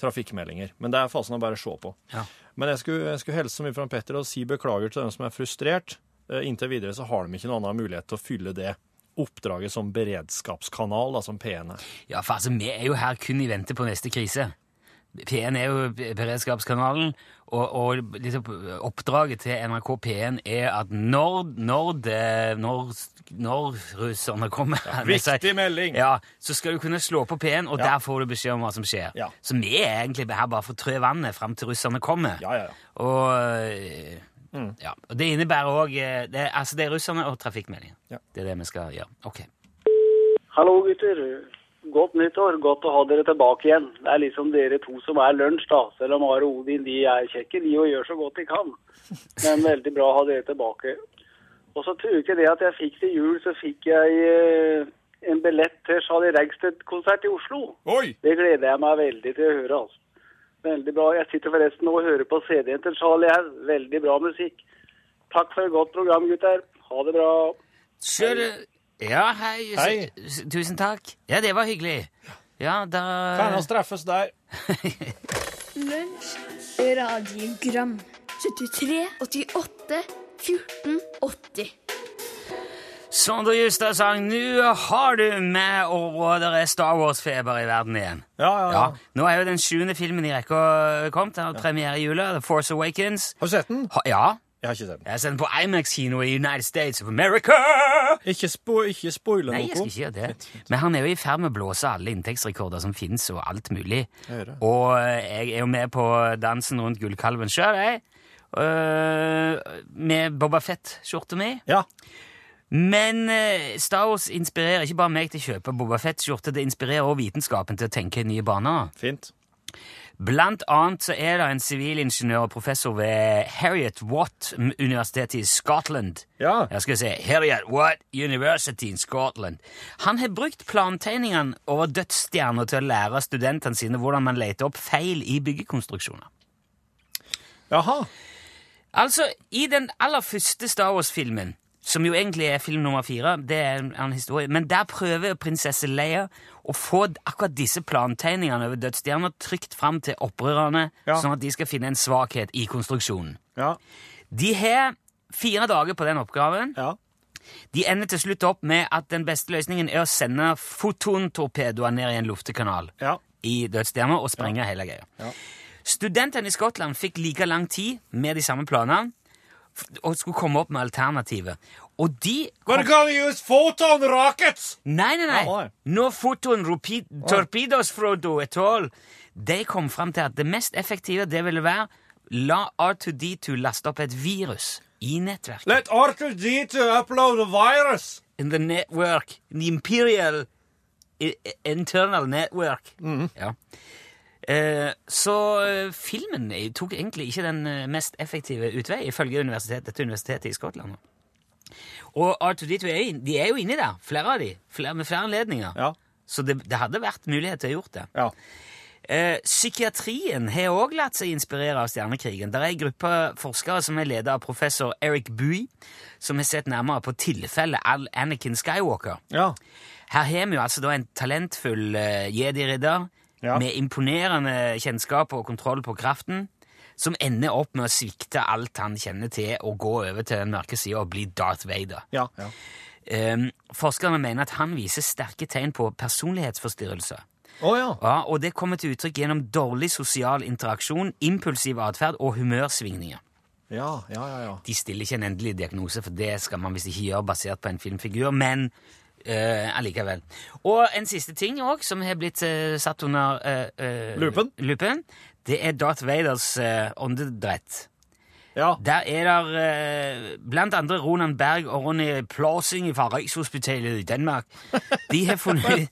S5: trafikkmeldinger. Men det er fasen å bare se på.
S3: Ja.
S5: Men jeg skulle, jeg skulle hilse så mye fra Petter og si beklager til dem som er frustrert. Eh, Inntil videre så har de ikke noen annen mulighet til å fylle det oppdraget som beredskapskanal, da, som P1 er.
S3: Ja, for altså, vi er jo her kun i vente på neste krise. P1 er jo beredskapskanalen, og, og liksom oppdraget til NRK P1 er at når, når, det, når, når russerne kommer
S5: Viktig melding!
S3: Ja, så skal du kunne slå på P1, og der får du beskjed om hva som skjer.
S5: Ja.
S3: Så vi er egentlig her bare for å trø vannet fram til russerne kommer.
S5: Ja, Mm. ja, ja.
S3: Og, eh, ja. og det innebærer òg det, altså det er russerne og trafikkmeldingen.
S5: Ja.
S3: Det er det vi skal gjøre. Ok.
S4: Hallo, gutter. Godt nyttår. Godt å ha dere tilbake igjen. Det er liksom dere to som er lunsj, da. Selv om Are og Odin de er kjekke, de og gjør så godt de kan. Men veldig bra å ha dere tilbake. Og så tror jeg ikke det at jeg fikk til jul, så fikk jeg eh, en billett til Charlie Ragsted-konsert i Oslo.
S5: Oi!
S4: Det gleder jeg meg veldig til å høre, altså. Veldig bra. Jeg sitter forresten og hører på CD-en til Charlie her. Veldig bra musikk. Takk for et godt program, gutter. Ha det bra.
S3: Kjør Ja, hei. s-
S5: Hei.
S3: s- Tusen takk. Ja, det var hyggelig. Ja,
S5: Kan
S3: da
S5: oss treffes der.
S8: Lunsj radiogram 73 88 14 80
S3: Sondre Justad sang 'Nå har du meg', og det er Star Wars-feber i verden igjen.
S5: Ja, ja, ja.
S3: Ja, Nå er jo den sjuende filmen i rekka kommet. Den har premiere i jula. The Force Awakens.
S5: Har du sett den?
S3: Ha, ja.
S5: Jeg har ikke sett den.
S3: Jeg har sett den på Imax-kino i United States of America.
S5: Ikke, spo ikke spoile
S3: Nei, jeg skal ikke gjøre det. Men han er jo i ferd med å blåse alle inntektsrekorder som fins, og alt mulig.
S5: hører det.
S3: Og eh, jeg er jo med på dansen rundt Gullkalven sjøl, jeg. Eh, med Boba Fett-skjorta mi.
S5: Ja.
S3: Men eh, Star Wars inspirerer ikke bare meg til å kjøpe Boba Fett-skjorte, det inspirerer også vitenskapen til å tenke i nye baner.
S4: Fint.
S3: Blant annet så er det en sivilingeniør og professor ved Harriet Watt m- Universitetet i Scotland.
S4: Ja.
S3: Jeg skal si Harriet Watt University in Scotland. Han har brukt plantegningene over dødsstjerner til å lære studentene sine hvordan man leter opp feil i byggekonstruksjoner.
S4: Jaha.
S3: Altså, i den aller første Star Wars-filmen, som jo egentlig er film nummer fire, det er en annen historie, men der prøver prinsesse Leia å få d- akkurat disse plantegningene over dødsstjerner trygt fram til opprørerne,
S4: Ja.
S3: sånn at de skal finne en svakhet i konstruksjonen.
S4: Ja.
S3: De har fire dager på den oppgaven.
S4: Ja.
S3: De ender til slutt opp med at den beste løsningen er å sende fotontorpedoer ned i en luftekanal
S4: Ja.
S3: i dødsstjerner og sprenge hele greia. Studentene i Skottland fikk like lang tid med de samme planene f- og skulle komme opp med alternativet. Og de kom...
S4: gonna use photon rockets!
S3: Nei, nei,
S4: Ja,
S3: nei!
S4: oi.
S3: No foton ropi- torpedos Frodo et all. De kom fram til at det mest effektive det ville være la R2D2 laste opp et virus i nettverket.
S4: Let R2D2 upload a virus!
S3: in the network, in the imperial i- i- internal network. Ja. Eh, så eh, filmen eh, tok egentlig ikke den eh, mest effektive utvei, ifølge universitet, dette universitetet i Skottland. Og R2D2 er, jo inn- de er jo inni der, flere av de, flere, med flere anledninger.
S4: Ja.
S3: Så det, det hadde vært mulighet til å gjort det.
S4: Ja.
S3: Eh, psykiatrien har òg latt seg inspirere av Stjernekrigen. Der er en gruppe forskere som er ledet av professor Eric Bui, som har sett nærmere på tilfellet Al Anakin Skywalker.
S4: Ja.
S3: Her har vi jo altså da en talentfull eh, jedi-ridder
S4: Ja.
S3: med imponerende kjennskap og kontroll på kraften, som ender opp med å svikte alt han kjenner til, og gå over til den mørke sida og bli Darth Vader.
S4: Ja. ja.
S3: Eh, forskerne mener at han viser sterke tegn på personlighetsforstyrrelse.
S4: Å ja.
S3: Ja, og det kommer til uttrykk gjennom dårlig sosial interaksjon, impulsiv atferd og humørsvingninger.
S4: Ja, ja, ja. ja.
S3: De stiller ikke en endelig diagnose, for det skal man visst ikke gjøre basert på en filmfigur, men eh, allikevel. Og en siste ting også, som har blitt eh, satt under eh, eh,
S4: Lupen.
S3: lupen, det er Darth Vaders eh, åndedrett.
S4: ja.
S3: Der er der eh, blant andre Ronan Berg og Ronny Plausing fra Rikshospitalet i Danmark. De har funnet,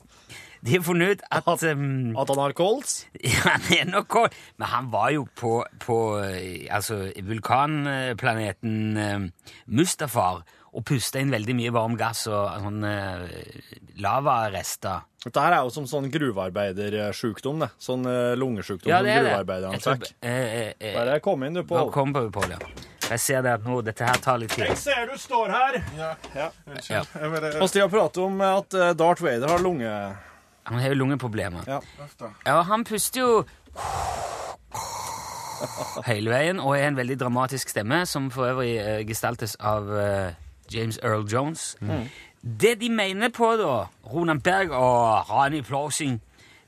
S3: de har funnet ut at eh,
S4: At han har kols?
S3: [LAUGHS] ja, han er nok kåt. Men han var jo på, på eh, altså, vulkanplaneten eh, Mustafar og pusta inn veldig mye varm gass og sånn eh, lavarester.
S4: Dette her er jo som sånn gruvearbeidersjukdom, det. Sånn eh, lungesjukdom
S3: Ja,
S4: som
S3: det er det.
S4: gruvearbeiderne
S3: Jeg tror-
S4: fikk.
S3: eh, eh, eh,
S4: Bare kom inn, du,
S3: Nå
S4: Pål.
S3: kom på Pål, ja. Jeg ser det at nå, dette her tar litt tid.
S4: ser du står her.
S3: Ja.
S4: Og Stian prater om at eh, Darth Vader har lunge...
S3: Han har jo lungeproblemer.
S4: Ja.
S3: ja, han puster jo hele veien og er en veldig dramatisk stemme, som for øvrig eh, gestaltes av eh, James Earl Jones. Det de mener på, da, Ronan Berg og Rani Plausing,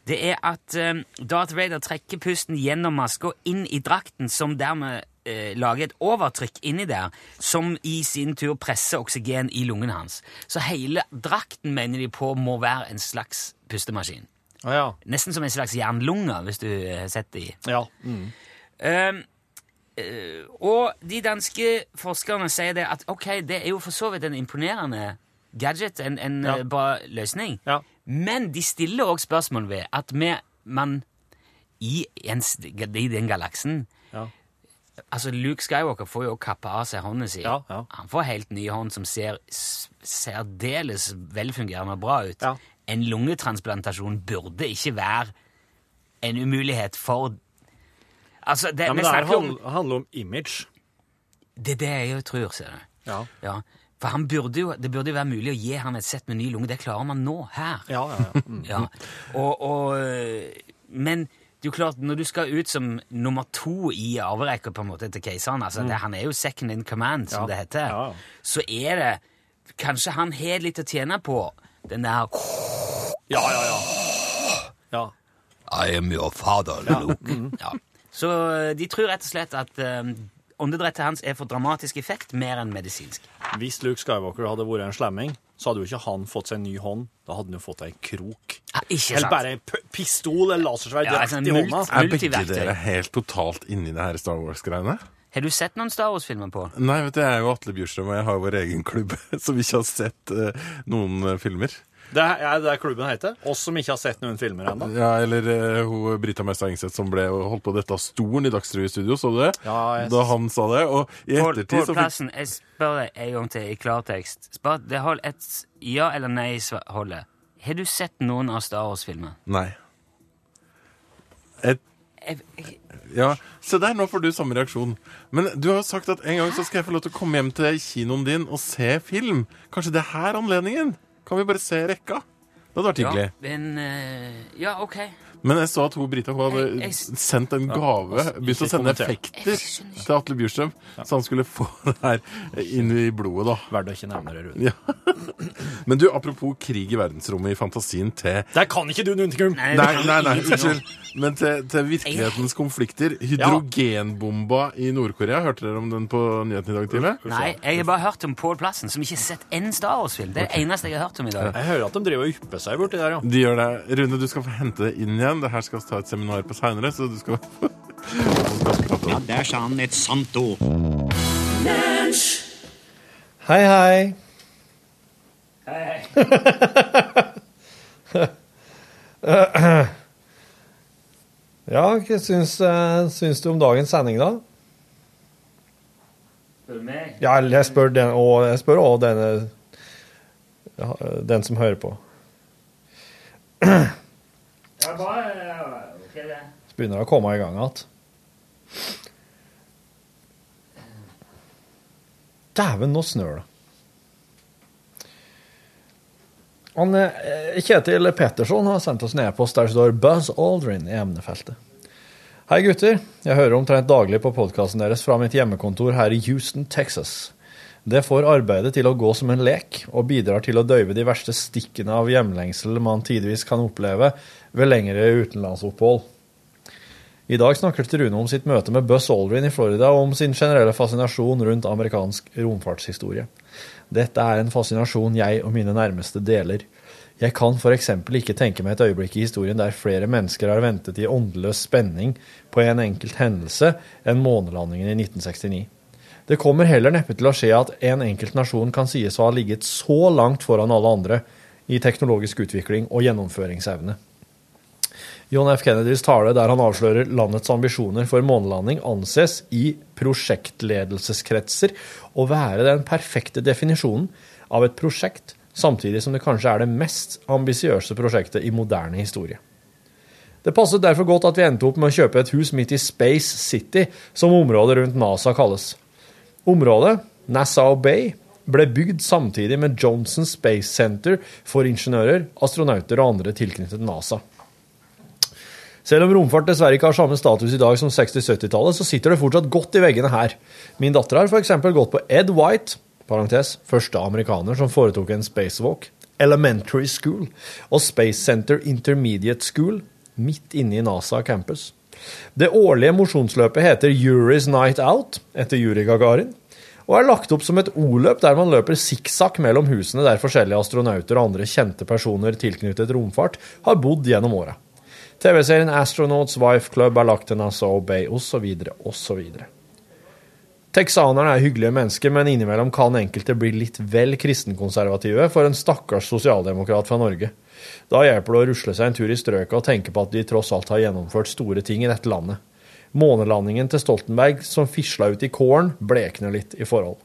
S3: det er at eh, Darth Vader trekker pusten gjennom maska og inn i drakten, som dermed eh, lager et overtrykk inni der, som i sin tur presser oksygen i lungen hans. Så hele drakten, mener de på, må være en slags pustemaskin.
S4: Å ja.
S3: Nesten som en slags jernlunge, hvis du eh, har sett det i.
S4: Ja.
S3: Ehm, eh, og de danske forskerne sier det at ok, det er jo for så vidt en imponerende gadget, en, en
S4: Ja.
S3: eh, bra løsning,
S4: Ja.
S3: men de stiller også spørsmål ved at vi, man i, en, s- i den galaksen
S4: Ja.
S3: Altså, Luke Skywalker får jo også kappa av seg hånden sin.
S4: Ja, ja.
S3: Han får helt ny hånd som ser s- særdeles velfungerende og bra ut.
S4: Ja.
S3: En lungetransplantasjon burde ikke være en umulighet for Altså, det,
S4: ja, men
S3: vi
S4: det her
S3: snakker om
S4: handler, handler om image.
S3: Det er det jeg jo tror, ser du.
S4: Ja.
S3: Ja. For han burde jo, det burde jo være mulig å gi han et sett med ny lunge. Det klarer man nå, her.
S4: Ja, ja, ja. Mm.
S3: Ja. Og, og, øh, men det er jo klart, når du skal ut som nummer to i arverekka på en måte til keiseren altså, det, Han er jo second in command, som
S4: Ja.
S3: det heter.
S4: Ja, ja.
S3: Så er det Kanskje han har litt å tjene på den der
S4: Ja, ja, ja. Ja.
S3: I am your father, Luke. Ja. Så øh, de tror rett og slett at øh, åndedrettet hans er for dramatisk effekt mer enn medisinsk.
S4: Hvis Luke Skywalker hadde vært en slemming, så hadde jo ikke han fått seg en ny hånd. Da hadde han jo fått ei krok.
S3: Ja, ikke
S4: Eller
S3: sant?
S4: bare ei p- pistol eller lasersverd
S3: Ja,
S4: rett
S3: altså,
S4: i
S3: mult-
S4: hånda.
S2: Er begge
S3: Multiverktøy.
S2: dere helt totalt inni det her Star Wars-greiene?
S3: Har du sett noen Star Wars-filmer på?
S10: Nei, vet du, jeg er jo Atle Bjurstrøm, og jeg har jo vår egen klubb [LAUGHS] som ikke har sett eh, noen eh, filmer.
S4: Det er er det klubben heter. Oss som ikke har sett noen filmer ennå.
S10: Ja, eller eh, hun Brita Mesta Engseth som ble eh, holdt på dette av stolen i Dagsrevy studio, så du det?
S4: Ja, jeg-
S10: Da han sa det. Og i
S3: Pål
S10: ettertid så fikk
S3: Plassen, jeg spør deg en gang til i klartekst. Spør, det hold et s- ja eller nei sva- holdet. Har du sett noen av Star Wars-filmer?
S10: Nei. Et,
S3: Jeg- jeg-
S10: ja, Se der, nå får du samme reaksjon. Men du har jo sagt at en gang så skal jeg få lov til å komme hjem til kinoen din og se film. Kanskje det er her anledningen? Kan vi bare se rekka? Det hadde vært hyggelig.
S3: Ja, men eh, Ja, OK.
S10: Men jeg så at hun, Brita hun
S3: Jeg-
S10: hadde
S3: jeg-
S10: sendt en gave,
S4: altså,
S10: begynt å
S4: ikke
S10: sende
S4: kommentere.
S10: effekter til Atle Bjurstrøm, så han skulle få [LAUGHS] det her inn i blodet, da.
S4: Verdt å ikke nevne det,
S10: Ja.
S4: Rune.
S10: Men du, apropos krig i verdensrommet i fantasien til
S4: Der kan ikke du noen ting!
S3: Nei,
S10: Nei, nei, nei,
S3: ingenting om-
S10: unnskyld. Men til, til virkelighetens konflikter. Hydrogenbomba i Nord-Korea. Hørte dere om den på nyheten i dag tidlig?
S3: Nei, jeg har bare hørt om Pål Plassen, som ikke har sett én Star Wars-film. Det er det eneste jeg har hørt om i dag.
S4: Jeg hører at de driver og ypper seg borti der, ja.
S10: De gjør det. Rune, du skal få hente det inn igjen. Det her skal vi ta et seminar på seinere, så du skal
S11: Ja, der sa han et sant ord.
S5: Hei, hei. ja, hva syns, eh, syns du om dagens sending, da? Ja, eller jeg spør den, og jeg spør også denne ja, den som hører på. Så begynner det å komme i gang igjen. Dæven, nå snør det. Han, eh, Kjetil Petterson har sendt oss en e-post der det står Buzz Aldrin i emnefeltet. Hei, gutter. Jeg hører omtrent daglig på podkasten deres fra mitt hjemmekontor her i Houston, Texas. Det får arbeidet til å gå som en lek, og bidrar til å døyve de verste stikkene av hjemlengsel man tidvis kan oppleve ved lengre utenlandsopphold. I dag snakker Rune om sitt møte med Buzz Aldrin i Florida og om sin generelle fascinasjon rundt amerikansk romfartshistorie. Dette er en fascinasjon jeg og mine nærmeste deler. Jeg kan f.eks. ikke tenke meg et øyeblikk i historien der flere mennesker har ventet i åndeløs spenning på en enkelt hendelse enn månelandingen i 1969. Det kommer heller neppe til å skje at en enkelt nasjon kan sies å ha ligget så langt foran alle andre i teknologisk utvikling og gjennomføringsevne. John F. Kennedys tale der han avslører landets ambisjoner for månelanding, anses i prosjektledelseskretser å være den perfekte definisjonen av et prosjekt, samtidig som det kanskje er det mest ambisiøse prosjektet i moderne historie. Det passet derfor godt at vi endte opp med å kjøpe et hus midt i Space City, som området rundt NASA kalles. Området, Nassau Bay, ble bygd samtidig med Johnson Space Center for ingeniører, astronauter og andre tilknyttet NASA. Selv om romfart dessverre ikke har samme status i dag som 60-70-tallet, så sitter det fortsatt godt i veggene her. Min datter har f.eks. gått på Ed White, parentes, første amerikaner som foretok en spacewalk, Elementary School og Space Center Intermediate School midt inne i NASA campus. Det årlige mosjonsløpet heter Yuri's Night Out, etter Yuri Gagarin, og er lagt opp som et O-løp der man løper sikksakk mellom husene der forskjellige astronauter og andre kjente personer tilknyttet romfart har bodd gjennom åra. TV-serien Astronauts Wife Club er lagt til Nassau Bay, osv., osv. Texanerne er hyggelige mennesker, men innimellom kan enkelte bli litt vel kristenkonservative for en stakkars sosialdemokrat fra Norge. Da hjelper det å rusle seg en tur i strøket og tenke på at de tross alt har gjennomført store ting i dette landet. Månelandingen til Stoltenberg, som fisla ut i kålen, blekner litt i forhold.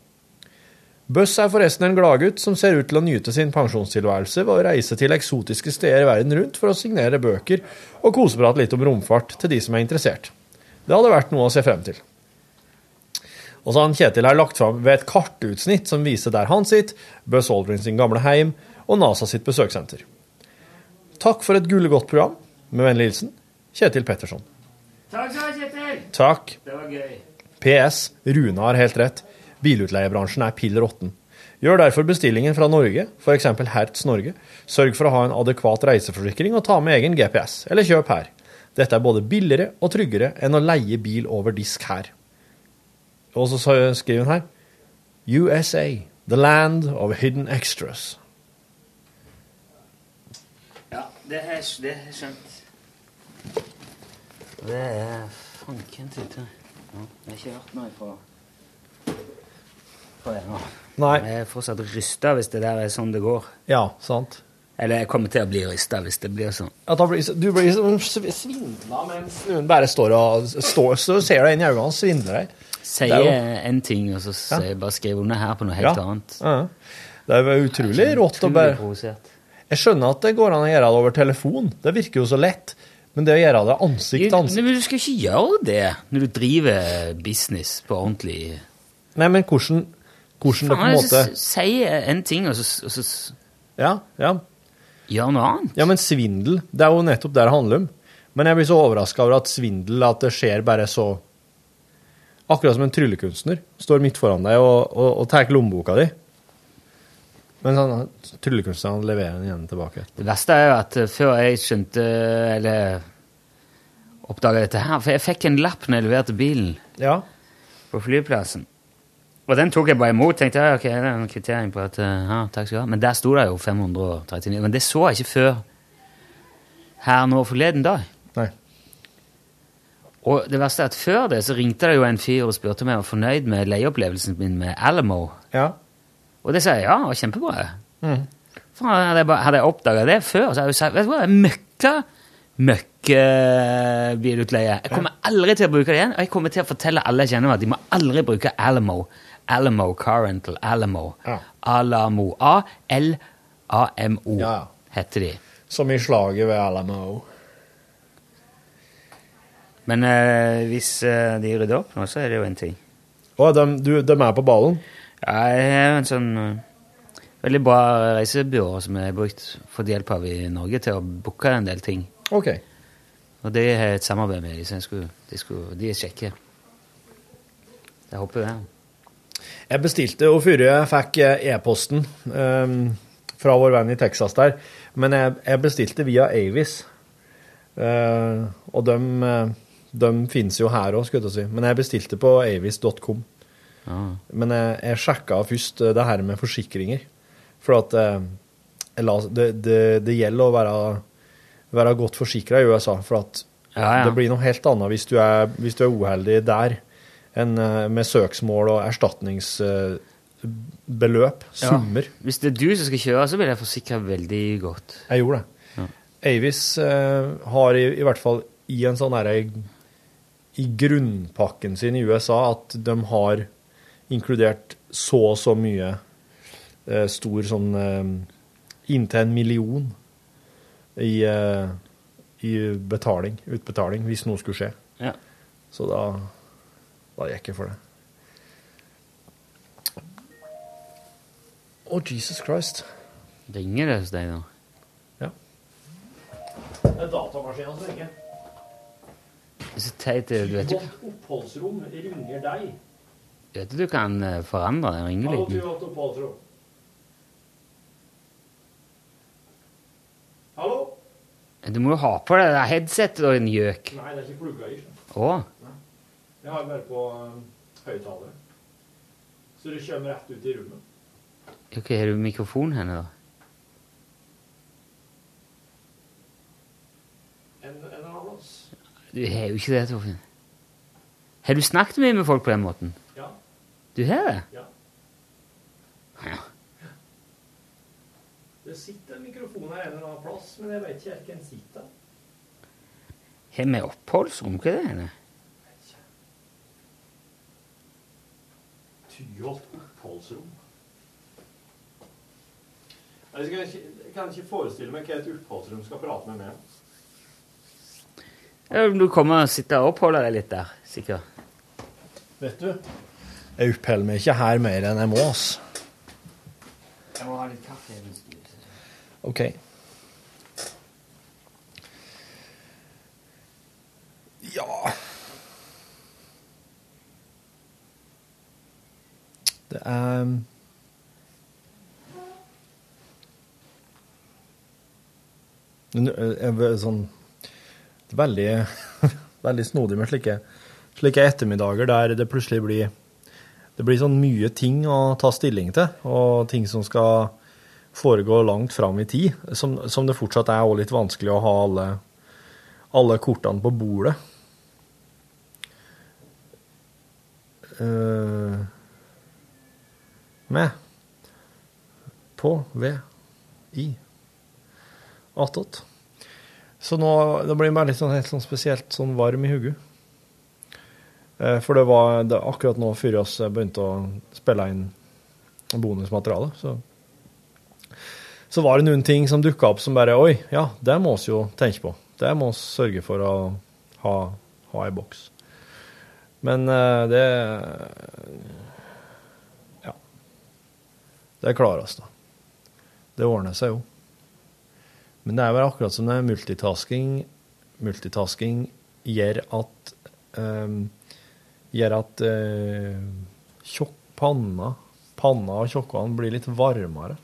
S5: Buzz er forresten en gladgutt som ser ut til å nyte sin pensjonstilværelse ved å reise til eksotiske steder verden rundt for å signere bøker og koseprate litt om romfart til de som er interessert. Det hadde vært noe å se frem til. Og så har han Kjetil her lagt fram ved et kartutsnitt som viser der han sitter, Buzz Aldrin sin gamle heim og NASA sitt besøkssenter. Takk for et gullegodt program. Med vennlig hilsen Kjetil Petterson.
S3: Takk skal du ha, Kjetil!
S5: Takk.
S3: Det var gøy.
S5: PS. Rune har helt rett. Bilutleiebransjen er pill råtten. Gjør derfor bestillingen fra Norge, f.eks. Hertz Norge. Sørg for å ha en adekvat reiseforsikring og ta med egen GPS, eller kjøp her. Dette er både billigere og tryggere enn å leie bil over disk her. Og så sa- skriver hun her USA, the land of hidden extras.
S3: Ja, det har jeg skjønt. Det er fanken titte.
S7: Jeg har ikke hørt noe fra, fra dere.
S5: Nei.
S3: Jeg er fortsatt rysta hvis det der er sånn det går.
S5: Ja, sant.
S3: Eller jeg kommer til å bli rysta hvis det blir sånn.
S5: At han blir, så- du blir så sv- svindla mens noen bare står og står, Så ser du inn i øynene og svindler deg.
S3: Sier
S5: Det er jo-
S3: en ting, og så sier jeg bare skriv under her på noe helt
S5: Ja.
S3: annet.
S5: Ja. Det er jo utrolig rått å
S3: Utrolig
S5: bare
S3: provosert.
S5: Jeg skjønner at det går an å gjøre det over telefon. Det virker jo så lett. Men det å gjøre det ansikt til ansikt
S3: Men du skal ikke gjøre det når du driver business på ordentlig
S5: Nei, men hvordan, hvordan det på en måte
S3: Sier en ting, og så, og så
S5: Ja, ja.
S3: Gjør noe annet.
S5: Ja, men svindel, det er jo nettopp det det handler om. Men jeg blir så overraska over at svindel, at det skjer bare så Akkurat som en tryllekunstner står midt foran deg og, og, og tar lommeboka di. Men sånn, tryllekunstneren leverer den igjen tilbake.
S3: Det verste er jo at eh, før jeg skjønte eh, Eller oppdaga dette her For jeg fikk en lapp når jeg leverte bilen
S5: Ja.
S3: på flyplassen. Og den tok jeg bare imot. tenkte jeg, ok, det er en kvittering på at, eh, ja, takk skal du ha. Men der sto det jo 539. Men det så jeg ikke før her nå forleden dag.
S5: Nei.
S3: Og det verste er at før det så ringte det jo en fyr og spurte om jeg var fornøyd med leieopplevelsen min med Alamo.
S5: Ja.
S3: Og det sa jeg ja, det var kjempebra.
S5: Mm.
S3: Faen, hadde jeg, bare- hadde jeg oppdaga det før, så hadde jeg jo sagt Vet du hva, jeg møkka møkkebilutleie. Jeg kommer aldri til å bruke det igjen, og jeg kommer til å fortelle alle jeg kjenner at de må aldri bruke Alamo. Alamo Car Rental. Alamo. Alamo. A-L-A-M-O heter de.
S5: Som i slaget ved Alamo.
S3: Men eh, hvis eh, de rydder opp nå, så er det jo en ting.
S5: Å, de, du, de er på ballen?
S3: Ja, jeg har en sånn eh, veldig bra reisebyrå som jeg har brukt fått hjelp av i Norge til å booke en del ting.
S5: OK.
S3: Og det har jeg et samarbeid med dem, så jeg skulle, de, skulle, de er kjekke. Jeg håper det.
S5: Jeg bestilte jo før jeg fikk eh, e-posten ehm, fra vår venn i Texas der, men jeg, jeg bestilte via Avis. Eh, og de, finnes jo her òg, skulle jeg til å si. Men jeg bestilte på avis.com. Men jeg, jeg sjekka først eh, det her med forsikringer. For at eh, jeg la, det, det, det gjelder å være, være godt forsikra i USA. For at
S3: Ja, ja.
S5: det blir noe helt annet hvis du er, hvis du er uheldig der enn eh, med søksmål og erstatningsbeløp.
S3: Ja.
S5: Summer.
S3: Hvis det er du som skal kjøre, så vil jeg forsikre veldig godt.
S5: Jeg gjorde det. Avis eh, har i, i hvert fall i en sånn herre I grunnpakken sin i USA at de har inkludert så og så mye eh, stor sånn eh, Inntil en million i, eh, i betaling, utbetaling, hvis noe skulle skje.
S3: Ja.
S5: Så da, da gikk jeg for det. Å, Jesus Christ.
S3: Ringer det hos deg nå?
S5: Det er datamaskinen som ringer.
S3: Det er så teit. Du vet jo
S5: Vårt oppholdsrom ringer deg.
S3: vet du, du kan eh, forandre den
S5: Hallo, du
S3: ringelyden.
S5: vårt oppholdsrom. Hallo?
S3: Du må jo ha på deg det der headsetet og en gjøk.
S5: Nei, det er ikke plugga i.
S3: Å,
S5: Jeg har bare på um, høyttalere. Så det kommer rett ut i rommet.
S3: ok, har du mikrofon henne da?
S5: En, en eller annen plass.
S3: Du har jo ikke det, Torfinn. Har du snakket mye med folk på den måten?
S5: Ja.
S3: Du har det?
S5: Ja.
S3: Ja.
S5: Det sitter en mikrofon her en eller annen plass, men jeg vet ikke helt hvem sitter.
S3: Har vi oppholdsrom? Hva er det? henne?
S5: Tyholt oppholdsrom. Jeg skal ikke- jeg kan ikke forestille meg hva et oppholdsrom skal prate med meg om.
S3: Ja, Du kommer og sitter og oppholder deg litt der, sikkert.
S5: Vet du? Jeg oppholder meg ikke her mer enn jeg må, ass.
S3: Jeg må ha litt kaffe. hvis du-
S5: OK. Ja Det er Men, ø, jeg vil Sånn det er Veldig, [LAUGHS] veldig snodig med slike, slike ettermiddager der det plutselig blir det blir sånn mye ting å ta stilling til, og ting som skal foregå langt fram i tid, som, som det fortsatt er også litt vanskelig å ha alle, alle kortene på bordet. eh, med på ved i attåt. Så nå det blir bare litt sånn, helt sånn spesielt sånn varm i hodet. Eh, For det var det var akkurat nå før oss begynte å spille inn bonusmateriale, så så var det noen ting som dukka opp som bare Oi, ja, det må vi jo tenke på. Det må vi sørge for å ha, ha i boks. Men eh, det Ja. Det klarer oss, da. Det ordner seg jo. Men det er vel akkurat som det er multitasking Multitasking gjør at eh, Gjør at eh, tjokk panna Panna og tjokkene blir litt varmere.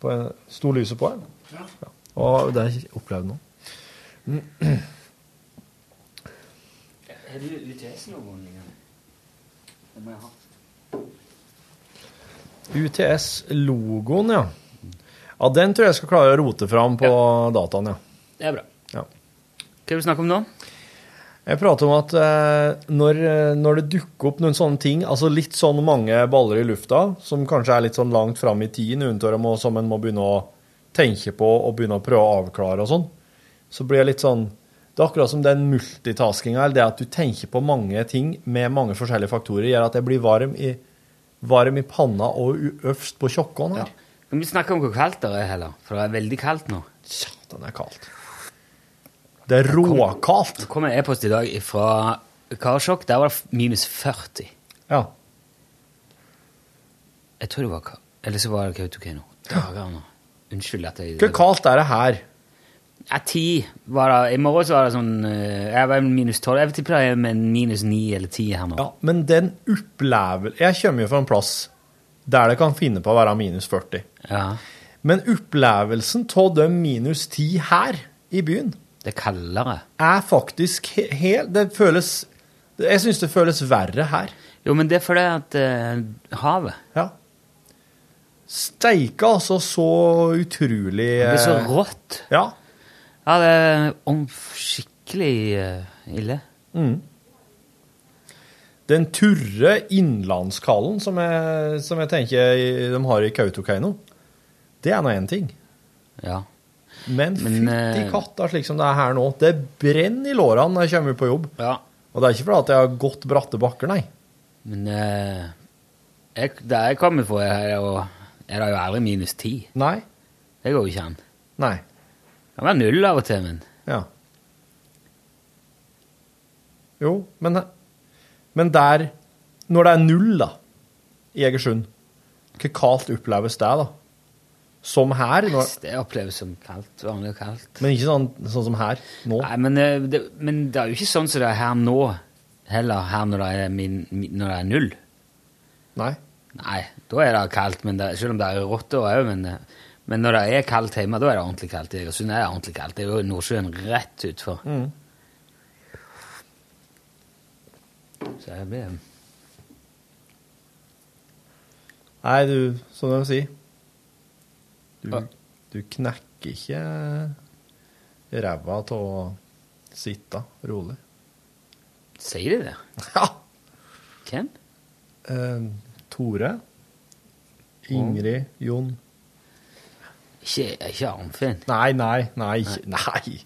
S5: På en, sto lyset på her?
S12: Ja.
S5: Og det har jeg ikke opplevd nå.
S3: Er det UTS-logoen liggende? Det må jeg ha.
S5: UTS-logoen, ja. Ja, Den tror jeg skal klare å rote fram på dataen, ja.
S3: Det er bra.
S5: ja.
S3: Hva er det vi snakker om nå?
S5: Jeg prater om at eh, når, eh, når det dukker opp noen sånne ting, altså litt sånn mange baller i lufta, som kanskje er litt sånn langt fram i tiden, noen av dem må- som en må begynne å tenke på og begynne å prøve å avklare og sånn, så blir det litt sånn Det er akkurat som den multitaskinga, eller det at du tenker på mange ting med mange forskjellige faktorer, gjør at jeg blir varm i, varm i panna og u- øverst på tjokkene. her.
S3: Kan vi snakke om hvor kaldt det er heller? For det er veldig kaldt nå.
S5: Satan, det er kaldt. Det er råkaldt.
S3: Det kom en e-post i dag fra Karasjok. Der var det f- minus 40.
S5: Ja.
S3: Jeg tror det var Ka- Eller så var det Kautokeino. Dager nå. Unnskyld at jeg
S5: Hvor kaldt er det her?
S3: Ja, ti var det. I morgen så var det sånn eh, Jeg var minus 12. Jeg tipper det er med minus 9 eller 10 her nå.
S5: Ja, men den opplevel... Jeg kommer jo fra en plass der det kan finne på å være minus 40. Men opplevelsen av de minus 10 her i byen
S3: Det er kaldere.
S5: Er faktisk he helt Det føles Jeg syns det føles verre her.
S3: Jo, men det er fordi at eh, havet
S5: Ja. Steike, altså, så utrolig
S3: Det blir så
S5: eh,
S3: rått.
S5: Ja.
S3: Ja, det er om skikkelig eh, ille.
S5: Mm. Den turre innlandskallen som jeg, som jeg tenker de har i Kautokeino, det er nå én ting.
S3: Ja.
S5: Men,
S3: Men,
S5: fytti
S3: eh,
S5: katta, slik som det er her nå. Det brenner i lårene når jeg kommer på jobb. Og det er ikke fordi at jeg har gått bratte bakker, nei.
S3: Men eh, jeg, der jeg kommer fra, er det jo, er det jo aldri minus 10.
S5: Nei.
S3: Det går jo ikke an.
S5: Nei.
S3: Det kan være null av og til, men
S5: Ja. Jo, men, men der Når det er null, da, i Egersund, hvor kaldt oppleves det, da? Som her? Når,
S3: det oppleves som kaldt. Vanlig og kaldt.
S5: men ikke sånn, sånn som her, nå?
S3: Nei, men, eh, det, men det er jo ikke sånn som det er her nå, heller her når det er, min, min- når det er null.
S5: Nei.
S3: Nei, da er det kaldt, men det, selv om det er rått da òg, men, eh, men når det er kaldt hjemme, da er det ordentlig kaldt. I Egersund er det ordentlig kaldt. Det er jo Nordsjøen rett utfor.
S5: Mm.
S3: Så det blir
S5: Nei, du, som de sier Du, du knekker ikke ræva av å sitte rolig.
S3: Sier de det?
S5: Ja.
S3: Hvem?
S5: Eh, Tore. Ingrid. Jon.
S3: Ikke, ikke Arnfinn?
S5: Nei, nei, nei. ikke- [LAUGHS] Nei.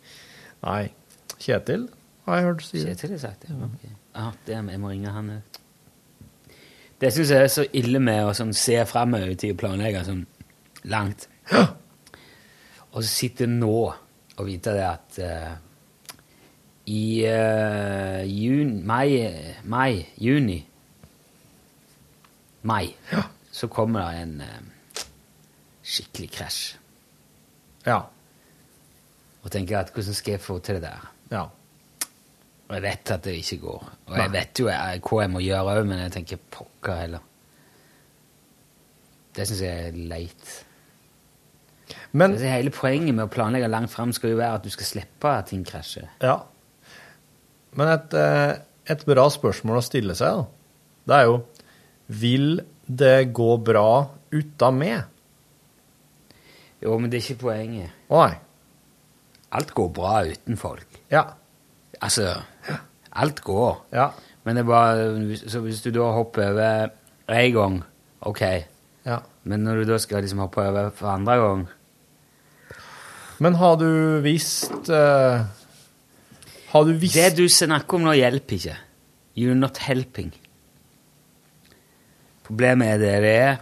S5: nei. Kjetil har jeg hørt si.
S3: Kjetil har sagt det. ok. Ah, det jeg må ringe han òg. Det syns jeg er så ille med å sånn, se framover i tid og planlegge sånn langt. Og så sitte nå og vite det at eh, i eh, jun, mai, mai juni mai så kommer det en eh, skikkelig krasj.
S5: Ja.
S3: Og tenker at hvordan skal jeg få til det der?
S5: Ja.
S3: Og jeg vet at det ikke går. Og
S5: Nei.
S3: jeg vet jo jeg, hva jeg må gjøre òg, men jeg tenker pokker heller. Det syns jeg er leit.
S5: Men
S3: det Hele poenget med å planlegge langt fram skal jo være at du skal slippe at ting krasjer.
S5: Ja. Men et, eh, et bra spørsmål å stille seg, da, det er jo Vil det gå bra uten meg?
S3: Jo, men det er ikke poenget.
S5: Å nei.
S3: Alt går bra uten folk.
S5: Ja.
S3: Altså Alt går. Men det er bare Så hvis du da hopper over én gang, OK.
S5: Ja.
S3: Men når du da skal liksom hoppe over for andre gang
S5: Men har du visst eh, Har du visst
S3: Det du snakker om nå, hjelper ikke. You're not helping. Problemet er det det er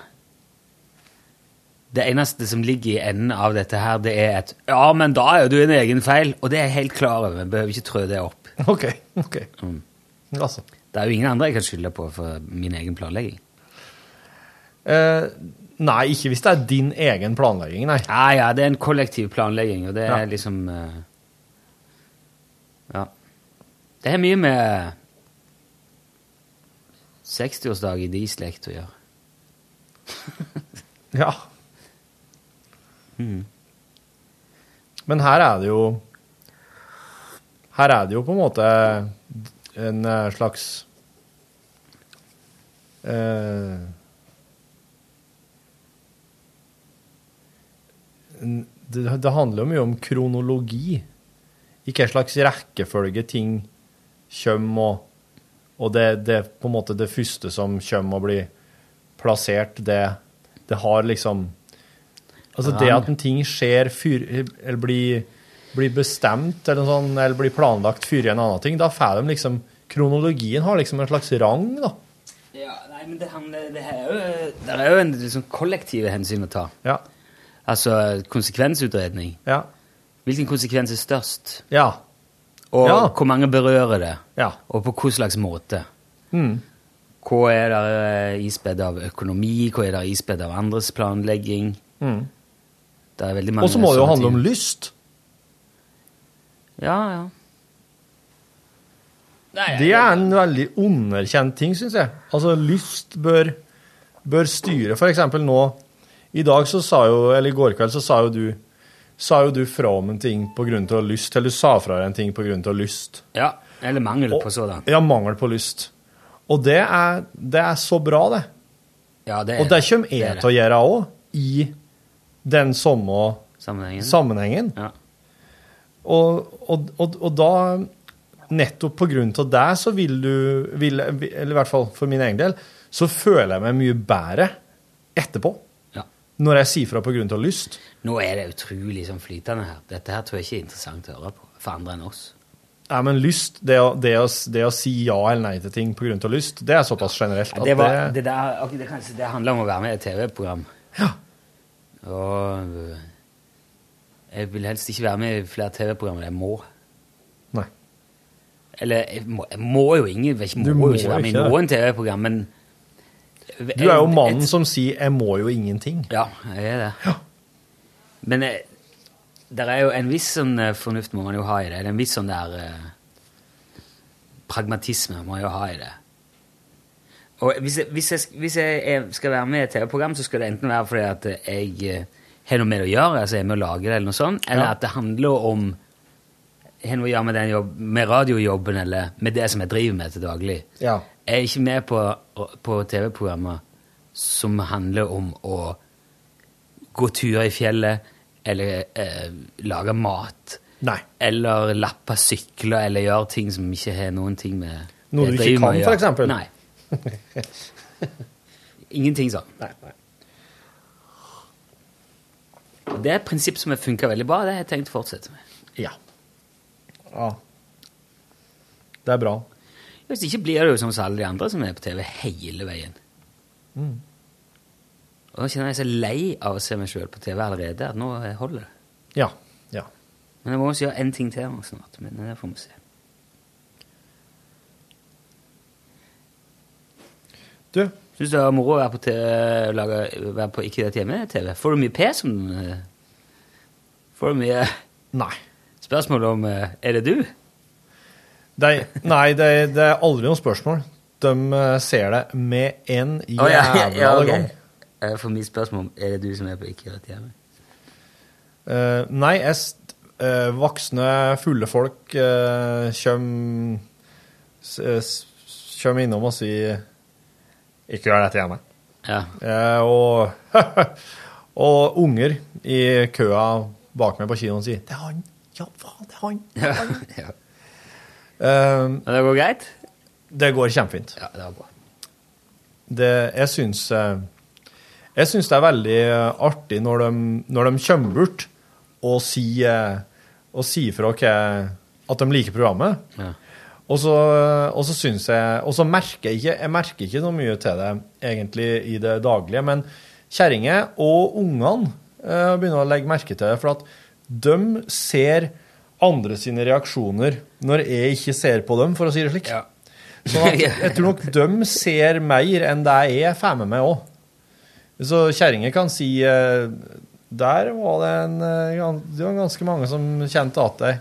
S3: Det eneste som ligger i enden av dette her, det er et Ja, men da er jo du en egen feil. Og det er jeg helt klar over. Jeg behøver ikke trø det opp.
S5: [LAUGHS] OK. ok.
S3: Mm.
S5: Altså.
S3: Det er jo ingen andre jeg kan skylde på for min egen planlegging.
S5: Eh, nei, ikke hvis det er din egen planlegging, nei.
S3: Ja, ja, det er en kollektiv planlegging, og det er
S5: Ja.
S3: liksom eh, Ja. Det har mye med 60-årsdag i de slekt å gjøre.
S5: Ja. Men her er det jo Her er det jo på en måte en eh, slags eh, en- det, det handler jo mye om kronologi. I hva slags rekkefølge ting kommer, og, og det, det er på en måte det første som kommer og blir plassert, det, det har liksom Altså det
S3: Ja.
S5: at en ting skjer fyr, eller blir, blir bestemt eller, sånn, eller blir planlagt før en annen ting, da får de liksom Kronologien har liksom en slags rang, da.
S3: Ja, nei, men det, handler, det, er, jo, det er jo en liksom, kollektive hensyn å ta.
S5: Ja.
S3: Altså konsekvensutredning.
S5: Ja.
S3: Hvilken konsekvens er størst?
S5: Ja.
S3: Og
S5: Ja.
S3: hvor mange berører det?
S5: Ja.
S3: Og på hva slags måte?
S5: Mm.
S3: Hva er der ispedd av økonomi? Hva er der ispedd av andres planlegging?
S5: Mm.
S3: Det er veldig mange
S5: Og så må det jo
S3: sånne
S5: handle om
S3: ting.
S5: lyst.
S3: Ja, ja.
S5: Det er en veldig underkjent ting, syns jeg. Altså, lyst bør, bør styre. For eksempel nå I dag så sa jo, eller i går kveld, så sa jo du Sa jo du fra om en ting pga. lyst, eller du sa fra deg en ting pga. lyst.
S3: Ja, eller mangel på sådan.
S5: Ja, mangel på lyst. Og det er, det er så bra, det.
S3: Ja, det er
S5: Og det kommer
S3: Det er
S5: jeg
S3: det.
S5: til å gjøre òg, i den samme
S3: Sammenhengen.
S5: sammenhengen. Og, og, og, og da, nettopp på grunn av det, så vil du vil, Eller i hvert fall for min egen del, så føler jeg meg mye bedre etterpå.
S3: Ja.
S5: Når jeg sier fra på grunn av lyst.
S3: Nå er det utrolig sånn flytende her. Dette her tror jeg ikke er interessant å høre på for andre enn oss.
S5: Ja, men lyst, det å, det, å, det å si ja eller nei til ting på grunn av lyst, det er såpass generelt
S3: Ja,
S5: at
S3: det,
S5: det,
S3: var, det, der, ok, det, kanskje, det handler om å være med i et TV-program. Ja. Og øh, jeg vil helst ikke være med i flere TV-program enn jeg må.
S5: Nei.
S3: Eller jeg må, jeg må jo ingen, jeg
S5: Du
S3: må,
S5: må
S3: jo ikke være med i
S5: ikke det.
S3: noen TV-program, men
S5: Du er jo mannen som sier 'jeg må jo ingenting'.
S3: Ja, jeg er det. Men eh, der er jo en viss sånn eh, fornuft må man jo ha i det. Eller en viss sånn der eh, pragmatisme må man jo ha i det. Og hvis jeg, hvis jeg, sk- hvis jeg er- skal være med i et TV-program, så skal det enten være fordi at eh, jeg eh, har noe med det å gjøre, altså jeg er med å lage det, eller noe sånt, eller
S5: Ja.
S3: at det handler om jeg har noe å gjøre med, den jobb, med radiojobben eller med det som jeg driver med til daglig.
S5: Ja.
S3: Jeg er ikke med på, på TV-programmer som handler om å gå turer i fjellet, eller eh, lage mat,
S5: Nei.
S3: eller lappe sykler, eller gjøre ting som ikke har noen ting med
S5: Noe
S3: det
S5: du
S3: jeg driver med
S5: ikke kan,
S3: å
S5: for
S3: gjøre.
S5: eksempel. [LAUGHS]
S3: Nei. Ingenting sånn. Og Det er et prinsipp som har funka veldig bra. Det har jeg tenkt å fortsette med.
S5: Ja. ja. Det er bra.
S3: Hvis ikke blir det jo sånn som alle de andre som er på TV hele veien.
S5: Mm.
S3: Og nå kjenner jeg så lei av å se meg sjøl på TV allerede at nå eh, holder det.
S5: Ja. ja.
S3: Men jeg må også gjøre én ting til nå snart. Men det får vi se.
S5: Du?
S3: Syns du det var moro å være på, TV, lage, være på Ikke dette hjemme-TV? Får du mye pes om eh, Får du mye
S5: Nei.
S3: spørsmål om eh, Er det du?
S5: Det er, nei, det er, det er aldri noe spørsmål. De eh, ser det med en jævla
S3: Å, ja, [LAUGHS] ja, ja, ok.
S5: gang.
S3: Jeg får mye spørsmål om Er det du som er på Ikke dette hjemme?
S5: Eh, nei, jeg, st- eh, voksne, fulle folk uh, kjøm, s- eh, s- kjøm innom og sier Ikke gjør dette hjemme.
S3: Ja.
S5: Eh, og, [LAUGHS] og unger i køa bak meg på kinoen sier Det er han! Ja, faen, det er han!
S3: Ja. ja.
S5: Eh,
S3: Og det går greit?
S5: Det går kjempefint.
S12: Ja, det var bra.
S5: Det, jeg syns eh, Jeg syns det er veldig eh, artig når de, når de kommer bort og sier eh, Og sier fra hva at de liker programmet.
S3: Ja.
S5: Og så, og så syns jeg Og så merker jeg ikke Jeg merker ikke noe mye til det egentlig i det daglige, men kjerringer og ungene eh, begynner å legge merke til det, for at de ser andre sine reaksjoner når jeg ikke ser på dem, for å si det slik. Sånn at jeg tror nok de ser mer enn det jeg får med meg òg. Så kjerringer kan si eh, Der var det en eh, gan- Det var ganske mange som kjente at deg.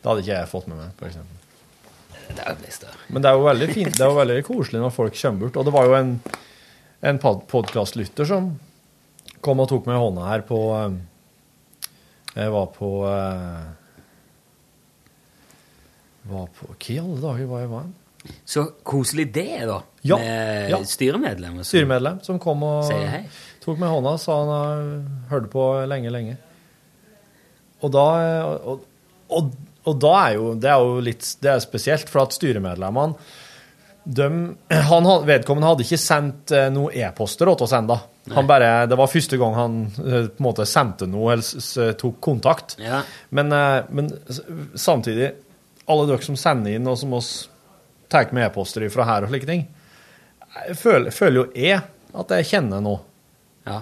S5: Det hadde ikke jeg fått med meg, f.eks.
S12: Det er visst det.
S5: Men det er jo veldig fint, det er jo veldig koselig når folk kommer bort. Og det var jo en, en podkastlytter som kom og tok meg i hånda her på eh, Jeg var på eh, Var på Hva i alle dager var jeg var?
S3: Så koselig det er, da.
S5: Ja,
S3: Med
S5: ja.
S3: styremedlem. og sånn.
S5: Styremedlem som kom og
S3: Sier hei.
S5: tok meg i hånda og sa han har hørt på lenge, lenge. Og da og, og, og da er jo Det er jo litt det er spesielt, for at styremedlemmene dem- han, had- Vedkommende hadde ikke sendt eh, noe e-poster til oss ennå.
S3: Nei.
S5: Det var første gang han eh, på en måte sendte noe eller s- s- tok kontakt.
S3: Ja.
S5: Men, eh, men s- samtidig, alle dere som sender inn og som oss tar med e-poster fra her og slike ting, jeg føler, føler jo jeg at jeg kjenner noe.
S3: Ja.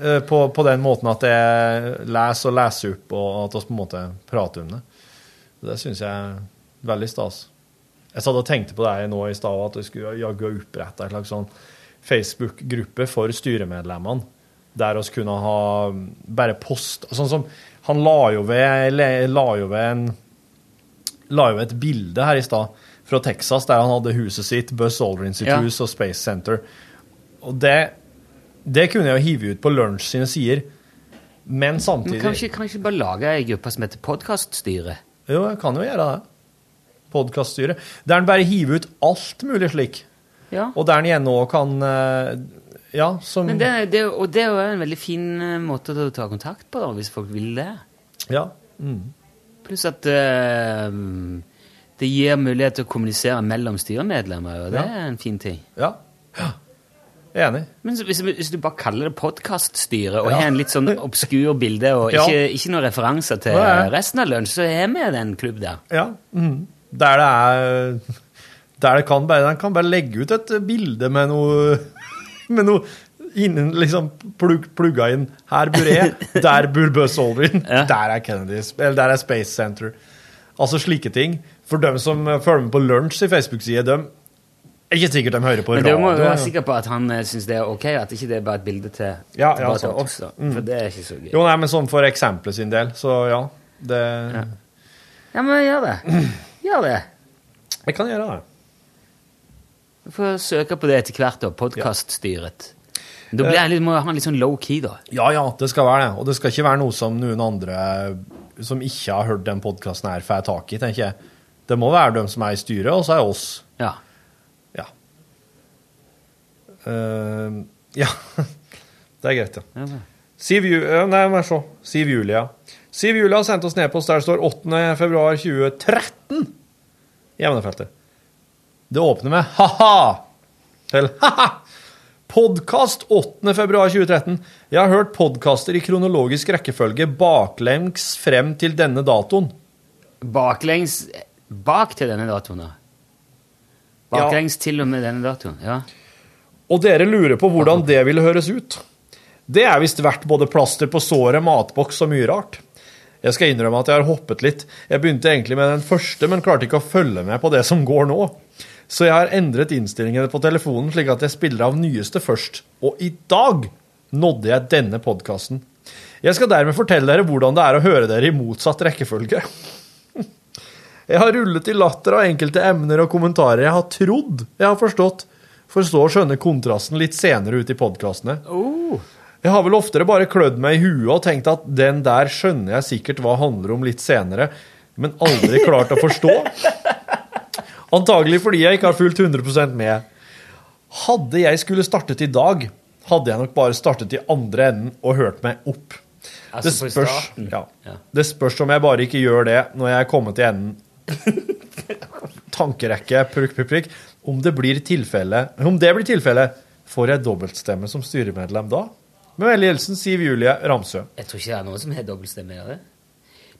S5: Eh, På, på den måten at jeg leser og leser opp, og at vi på en måte prater om det. Så Det syns jeg er veldig stas. Jeg satt og tenkte på det her nå i stad, at jeg skulle jaggu opprette en slags sånn Facebook-gruppe for styremedlemmene. Der oss kunne ha mm, bare post Sånn som Han la jo ved, le- la jo ved en la jo et bilde her i stad fra Texas, der han hadde huset sitt, Buzz Aldrin sitt
S3: Ja.
S5: hus og Space Center. Og det, det kunne jeg jo hive ut på lunsj sine sider, men
S3: Men
S5: samtidig
S3: kan vi ikke- kan vi ikke bare lage ei gruppe som heter Podkaststyret?
S5: Jo, jeg kan jo gjøre det. Podkaststyret. Der han bare hiver ut alt mulig slik.
S3: Ja.
S5: Og der han igjen òg kan eh, Ja, som
S3: Men det, det, og det er jo en veldig fin eh, måte å ta kontakt på, da, hvis folk vil det.
S5: Ja. Mm.
S3: Pluss at eh, det gir mulighet til å kommunisere mellom styremedlemmer, og det
S5: Ja.
S3: er en fin ting.
S5: Ja. Jeg er enig.
S3: Men så hvis, hvis du bare kaller det podkaststyret, og
S5: Ja.
S3: har en litt sånn obskur bilde, og
S5: Ja.
S3: ikke, ikke noen referanser til
S5: Nei.
S3: resten av lunsj, så har vi den klubb der.
S5: Ja. Mm. Der det er [LAUGHS] Der det kan bare Den kan bare legge ut et bilde med noe [LAUGHS] Med noe innen liksom plug, plugga inn Her
S3: [LAUGHS]
S5: bor jeg, der bor Buzz Aldrin, der er Kennedy, eller der er Space Center. Altså slike ting. For dem som følger med på Lunsj i Facebook-sida, dem er ikke sikkert de hører på
S3: Men du må jo
S5: radio.
S3: være sikker på at han eh, syns det er ok, at ikke det er bare et bilde til,
S5: Ja, ja,
S3: bare til
S5: sant. Mm.
S3: oss, da. For det er ikke så gøy.
S5: Jo, nei, men sånn for eksempelet sin del, så ja. Det
S3: Ja, men gjør det. Gjør det.
S5: Jeg kan gjøre det.
S3: Vi får søke på det etter hvert, da. Podkaststyret. Da blir jeg litt, må jeg ha en litt sånn low-key, da.
S5: Ja, ja, det skal være det. Og det skal ikke være noe som noen andre som ikke har hørt den podkasten her, får tak i, tenker jeg. Det må være dem som er i styret, og så er oss.
S3: Ja.
S5: Ja. Eh, ja. [LAUGHS] Det er greit, ja. Siv, Ju eh, nei, må jeg se. Siv Julia. Siv Julia har sendt oss nedpost der det står 8. februar 2013 i emnefeltet. Det åpner med ha-ha! Eller ha-ha! Podkast 8. februar 2013. Jeg har hørt podkaster i kronologisk rekkefølge baklengs frem til denne datoen.
S3: Baklengs bak til denne datoen, da. Baklengs til og med denne datoen. Ja.
S5: Og dere lurer på hvordan det ville høres ut. Det er visst verdt både plaster på såret, matboks og mye rart. Jeg skal innrømme at jeg har hoppet litt. Jeg begynte egentlig med den første, men klarte ikke å følge med på det som går nå. Så jeg har endret innstillingene på telefonen slik at jeg spiller av nyeste først. Og i dag nådde jeg denne podkasten. Jeg skal dermed fortelle dere hvordan det er å høre dere i motsatt rekkefølge. Jeg har rullet i latter av enkelte emner og kommentarer jeg har trodd jeg har forstått, for så å skjønne kontrasten litt senere ut i podkastene. Jeg har vel oftere bare klødd meg i huet og tenkt at den der skjønner jeg sikkert hva handler om litt senere, men aldri klart å forstå. Antagelig fordi jeg ikke har fulgt 100 med. Hadde jeg skulle startet i dag, hadde jeg nok bare startet i andre enden og hørt meg opp.
S3: Altså på starten.
S5: [LAUGHS] ja. det spørs om jeg bare ikke gjør det når jeg er kommet til enden. tankerekke prikk, prikk, prikk. Om det blir tilfelle, om det blir tilfelle, får jeg dobbeltstemme som styremedlem da? Med vennlig hilsen Siv Julie Ramsø.
S3: Jeg tror ikke det er noen som har dobbeltstemme av det.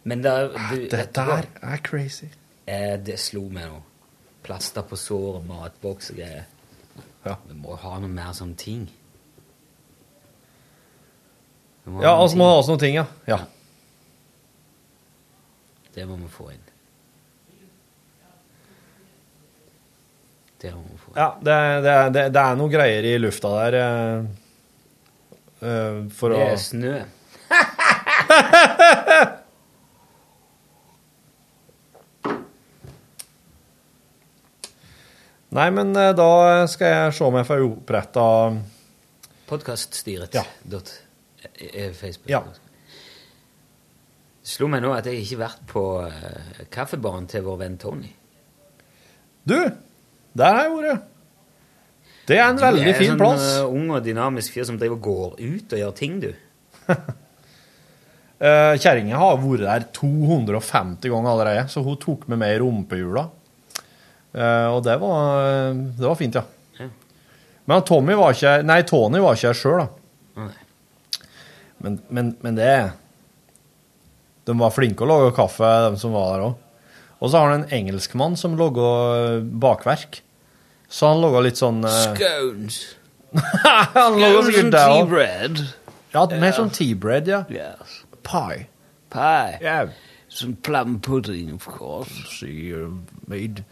S3: Men det er- du- vet du
S5: Ah, Dette
S3: hva?
S5: her er crazy.
S3: Eh, det slo meg nå. Plaster på sår, matboks og greier. Vi må jo ha noe mer sånne ting. Vi må ha
S5: Ja,
S3: noen
S5: altså må ha sånne ting, ja. ja.
S3: ting. Det må vi få inn. Det må vi få
S5: Ja, det, er- det, er- det, det er noen greier i lufta der eh, eh, for å
S3: Det er snø.
S5: Nei, men eh, da skal jeg se om jeg får oppretta
S3: Podcaststyret
S5: Ja.
S3: dot eh, eh, Facebook.
S5: Ja.
S3: Det slo meg nå at jeg ikke har vært på eh, kaffebaren til vår venn Tony.
S5: Du, der har jeg vært. Det er en veldig fin
S3: Du er en
S5: plass.
S3: sånn eh, ung og dynamisk fyr som driver og går ut og gjør ting, du.
S5: Uh, Kjerringa har vært der 250 ganger allerede, så hun tok med meg i rumpehjula. Eh, og det var, det var fint, ja.
S3: Ja.
S5: Men Tommy var ikke Nei, Tony var ikke her sjøl, da.
S3: Nei.
S5: Men, men, men det De var flinke å lage kaffe, de som var der òg. Og så har han en engelskmann som lager bakverk. Så han lager litt sånn eh,
S3: Scones.
S5: [LAUGHS] Han lager
S3: Scones
S5: sikkert
S3: and
S5: det
S3: tea
S5: også.
S3: bread.
S5: Ja, mer
S3: Ja.
S5: sånn tea bread, ja. Pie.
S3: Pie.
S5: Yeah.
S3: Some plum pudding, of course.
S5: She uh, made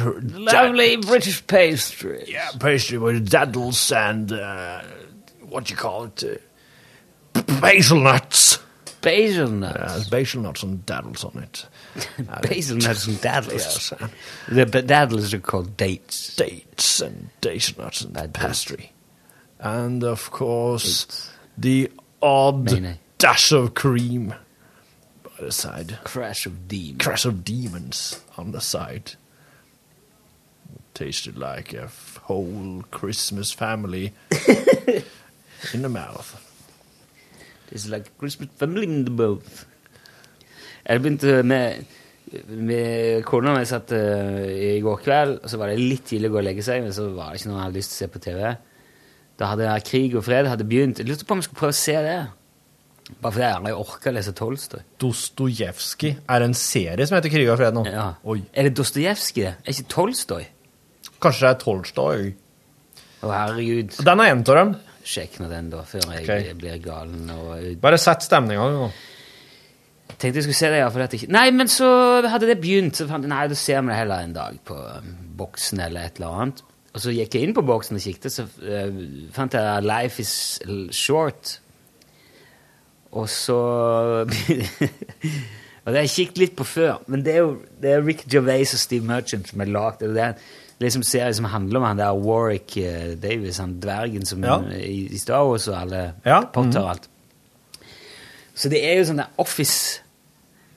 S3: Lovely British pastry.
S5: Yeah, pastry with daddles and uh, what you call it, uh, basilnuts.
S3: Basilnuts.
S5: Yes, basilnuts and daddles on it.
S3: Basilnuts and daddles.
S5: Yes, and
S3: The but daddlers are called dates.
S5: dates and daisinuts and pastry, and of course the odd
S3: Mayonnaise.
S5: dash of cream by the side.
S3: Crash of demons.
S5: Crash of demons on the side. Tasted like a f- whole Christmas family in the mouth.
S3: It's like Christmas family in the boat. Jeg begynte med, med kona mi satt eh, i går kveld, og så var det litt tidlig å gå og legge seg, men så var det ikke noe jeg hadde lyst til å se på TV. Da hadde jeg Krig og fred hadde begynt. Jeg lurte på om jeg skulle prøve å se det. Bare fordi jeg aldri orka å lese Tolstoy.
S5: Dostojevskij er en serie som heter Krig og fred nå.
S3: Ja. Er det Dostojevskij? det? Er ikke Tolstoy?
S5: Kanskje det er Tolstoj.
S3: Å, herregud.
S5: Den er en av dem.
S3: Sjekk nå den, da, før jeg
S5: Ok.
S3: blir galen. Og eh,
S5: Bare sett stemninga nå.
S3: Tenkte jeg skulle se det, ja, for at jeg ikke... Nei, men så hadde det begynt, så fant jeg, nei, da ser vi det heller en dag på um, boksen eller et eller annet. Og så gikk jeg inn på boksen og kikket, så eh, fant jeg Life is L- Short. Og så... [LAUGHS] og det har jeg kikket litt på før, men det er jo det er Rick Gervais og Steve Merchant som har lagt det. Det er en liksom serie som handler om han der Warwick eh, Davis, han dvergen som
S5: Ja.
S3: i, i Star Wars og alle
S5: Ja,
S3: Potter
S5: mhm.
S3: og alt. Så det er jo sånn der office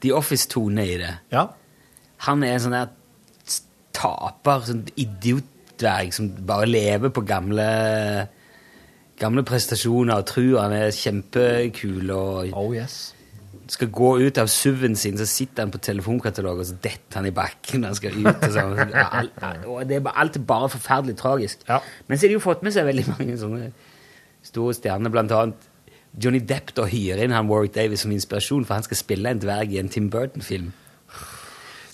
S3: The Office-tone i det. Han er en sånn der taper, sånn idiotdverg som bare lever på gamle gamle prestasjoner og tror han er kjempekul og skal gå ut av SUV-en sin, så sitter han på telefonkatalogen og så detter han i bakken når han skal ut. Og sånn. Ja, alt- og det er bare, alt er bare forferdelig tragisk. Men så har de jo fått med seg veldig mange sånne store stjerner, blant annet Johnny Depp da hyrer inn han Warwick Davis som inspirasjon, for han skal spille en dverg i en Tim Burton-film.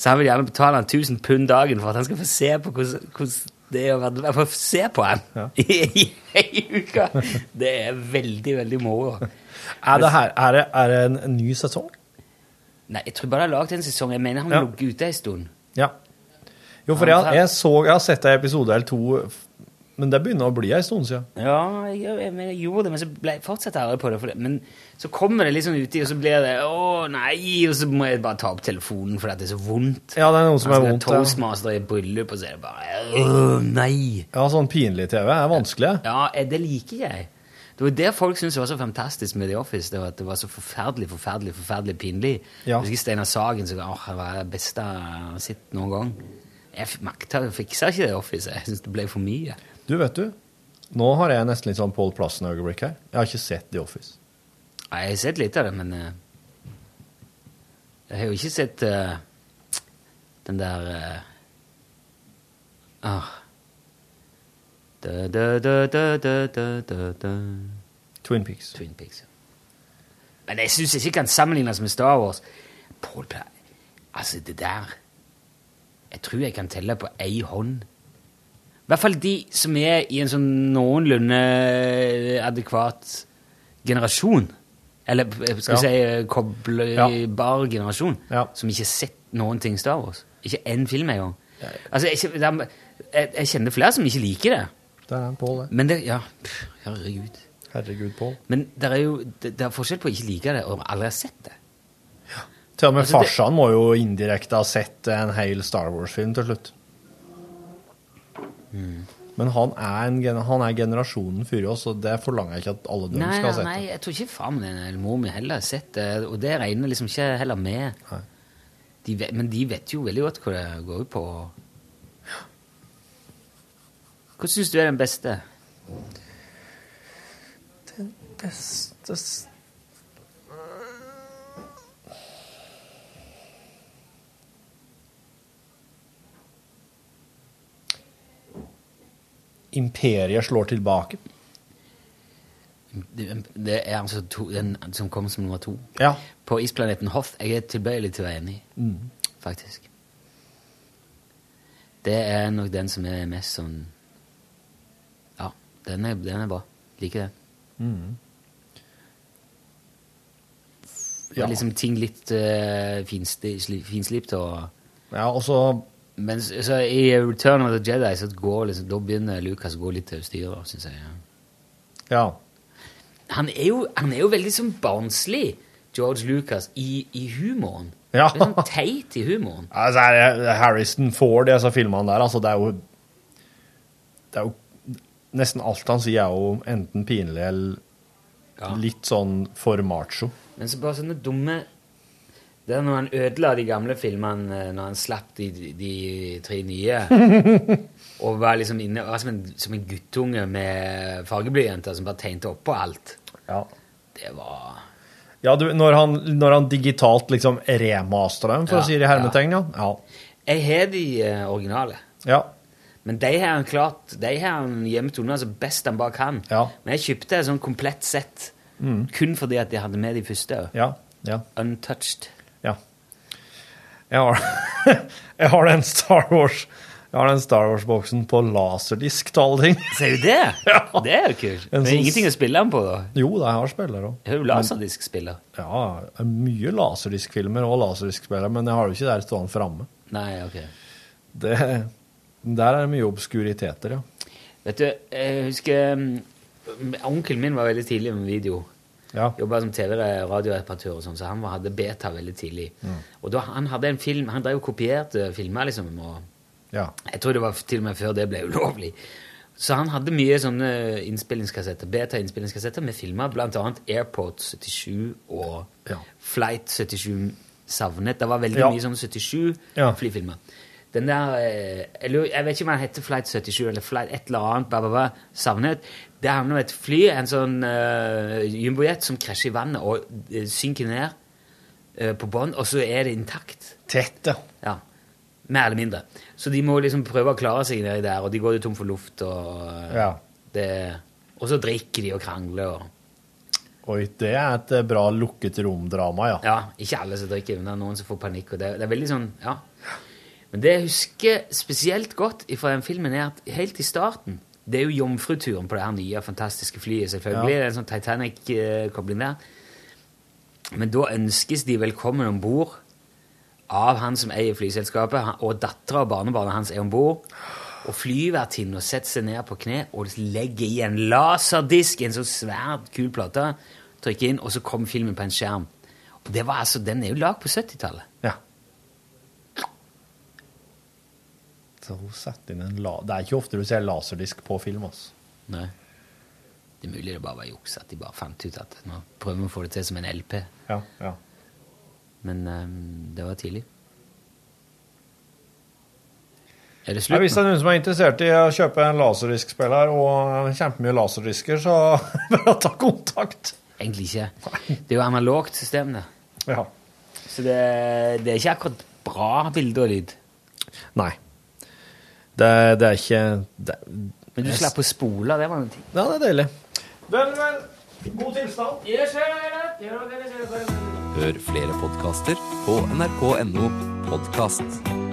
S3: Så han vil gjerne betale han 1000 pund dagen for at han skal få se på hvordan hvordan det er å være dverg. Få se på han [LAUGHS] i ei uke! Det er veldig, veldig moro.
S5: Er det her er det, er det en, en ny sesong?
S3: Nei, jeg tror bare jeg har lagd en sesong. Jeg mener han
S5: Ja.
S3: har ligget ute en stund.
S5: Ja. Jo, for jeg, jeg, så, jeg har sett en episode eller to, men det begynner å bli en stund siden.
S3: Ja, jeg, jeg, jeg, jeg gjorde det, men så ble, fortsatte jeg aldri på det, for det. Men så kommer det liksom uti, og så blir det Å, nei! Og så må jeg bare ta opp telefonen fordi at det er så vondt.
S5: Ja, det er noe som
S3: Han skal
S5: er vondt.
S3: ha
S5: ja.
S3: Toastmaster i bryllup, og så er det bare øh, Nei!
S5: Ja, sånn pinlig TV er vanskelig.
S3: Ja, eh, det liker jeg. Det var det folk syntes var så fantastisk med The Office. Det var at det var så forferdelig, forferdelig forferdelig pinlig.
S5: Ja.
S3: Jeg husker Steinar Sagen som åh, han var det beste jeg har sett noen gang. Jeg f- makta jeg fiksa ikke The Office. Jeg syntes det ble for mye.
S5: Du, vet du, nå har jeg nesten litt sånn Paul Plassen-øyeblikk her. Jeg har ikke sett The Office.
S3: Nei, Jeg har sett litt av det, men eh, Jeg har jo ikke sett eh, den der eh, Ah. Da, da, da, da, da, da, da, da.
S5: Twin Peaks.
S3: Twin Peaks, ja. Men jeg syns ikke det kan sammenlignes med Star Wars. Paul Pla- Altså, det der Jeg tror jeg kan telle på ei hånd. I hvert fall de som er i en sånn noenlunde adekvat generasjon. Eller jeg skal vi si eh, koblebar generasjon. Som ikke har sett noen ting Star Wars. Ikke én film engang. Altså, jeg, kjen- det er- jeg, jeg kjenner flere som ikke liker det.
S5: Der er han, Pål.
S3: Men det, ja, pff, herregud.
S5: Herregud, Pål.
S3: Men det er jo det, det er forskjell på å ikke like det og aldri ha sett det.
S5: Til og med
S3: Altså, det-
S5: farsan må jo indirekte ha sett en hel Star Wars-film til slutt.
S3: Mm.
S5: Men han er, en, gen- han er generasjonen før oss, og det forlanger jeg ikke at alle dem
S3: Nei,
S5: skal
S3: nei,
S5: ha sett.
S3: nei, jeg tror ikke far min eller mor min heller har sett det, og det regner liksom ikke heller med. De vet, men de vet jo veldig godt hva det går ut på. Hva syns du er den beste?
S5: Den beste s- Imperiet slår tilbake.
S3: Det, det er altså to, den som kom som nummer to.
S5: Ja.
S3: På isplaneten Hoth. Jeg er tilbøyelig til å være enig,
S5: Mm.
S3: faktisk. Det er nok den som er mest sånn Ja, den er, den er bra. Liker den.
S5: Mm.
S3: Det
S5: Ja.
S3: er liksom ting litt uh, finslipt og
S5: Ja, og så
S3: Men så, så i Return of the Jedi så går liksom, da begynner Lucas å gå litt til styret, syns jeg. Ja.
S5: Ja.
S3: Han er jo, han er jo veldig sånn barnslig, George Lucas, i, i humoren.
S5: Ja.
S3: Det er sånn teit i humoren.
S5: Altså, er det Harrison Ford i disse filmene der, altså, det er jo Det er jo Nesten alt han sier, er jo enten pinlig eller litt sånn for macho.
S3: Men så bare sånne dumme Det er når han ødela de gamle filmene eh, når han slapp de, de tre nye.
S5: [LAUGHS]
S3: og var liksom inne var som en, som en guttunge med fargeblyjenter som bare tegnte oppå alt.
S5: Ja.
S3: Det var
S5: Ja, du, når han, når han digitalt liksom remasterer dem, for
S3: Ja,
S5: å si det i hermetegn, ja. ja.
S3: Jeg har de eh, originale.
S5: Ja.
S3: Men de har han klart De har han gjemt unna så altså best han bare kan. Men jeg kjøpte et sånn komplett sett
S5: Mm.
S3: kun fordi at jeg hadde med de første.
S5: Ja, ja.
S3: Untouched.
S5: Ja. Jeg har, [LAUGHS] jeg har den Star Wars Jeg har den Star Wars-boksen på laserdisk til alle ting.
S3: Ser du
S5: [LAUGHS]
S3: det? Ja. Det er jo kult.
S5: En
S3: Men det
S5: sånn-
S3: er ingenting å spille den på, da.
S5: Jo, da, jeg har spiller òg.
S3: Jeg har jo laserdiskspiller.
S5: Ja, det er mye laserdiskfilmer og laserdiskspillere, men jeg har jo ikke der stående framme.
S3: Nei, ok.
S5: Det, der er det mye obskuriteter, ja.
S3: Vet du, jeg husker mm, Onkelen min var veldig tidlig med video.
S5: Ja.
S3: Jobba som TV-radioreparatør, og sånn, så han var- hadde beta veldig tidlig.
S5: Mm.
S3: Og da han hadde en film Han drev og kopierte filmer, liksom. og
S5: Ja.
S3: Jeg tror det var til og med før det ble ulovlig. Så han hadde mye sånne innspillingskassetter, beta-innspillingskassetter med filmer, blant annet Airport 77 og Flight 77 Savnet. Det var veldig
S5: Ja.
S3: mye sånn 77
S5: Ja.
S3: flyfilmer. Den der eh, jeg lurer- Jeg vet ikke om den heter Flight 77 eller Flight et eller annet. Bla, bla, bla, savnet. Det handler om et fly, en sånn eh, jumbojet, som krasjer i vannet og eh, synker ned eh, på bånn, og så er det intakt.
S5: Tett, ja.
S3: Ja, Mer eller mindre. Så de må liksom prøve å klare seg nedi der, og de går jo tom for luft, og eh,
S5: Ja.
S3: det, Og så drikker de og krangler og
S5: Oi, det er et eh, bra lukket rom-drama, ja.
S3: Ja, ikke alle som drikker, men det er noen som får panikk, og det, det er veldig sånn Ja. Men det jeg husker spesielt godt fra den filmen, er at helt i starten Det er jo jomfruturen på det her nye, fantastiske flyet, selvfølgelig.
S13: Ja.
S3: Det er en sånn Titanic-kobling der. Men da ønskes de velkommen om bord av han som eier flyselskapet, han- og dattera og barnebarnet hans er om bord. Og flyvertinnen setter seg ned på kne og legger i en laserdisk, en sånn svær, kul plate, trykker inn, og så kommer filmen på en skjerm. Og det var altså, Den er jo lag på 70-tallet.
S5: Så hun setter inn en la... Det er ikke ofte du ser laserdisk på film, altså.
S3: Nei. Det er mulig det bare var juks, at de bare fant ut at nå prøver vi å få det til som en LP.
S5: Ja, ja.
S3: Men ehm, det var tidlig. Er det
S5: Ja,
S3: slutt
S5: hvis det er noen som er interessert i å kjøpe en laserdiskspiller og kjempemye laserdisker, så [LAUGHS] bare ta kontakt.
S3: Egentlig ikke. Det er jo analogt system, det.
S5: Ja.
S3: Så det, det er ikke akkurat bra bilde og lyd.
S5: Nei. Det, det er ikke det,
S3: Men du slapp å spole, det var en ting.
S5: Ja, det er deilig.
S14: Vel, vel. God tilstand.
S15: Hør flere podkaster på nrk.no podkast.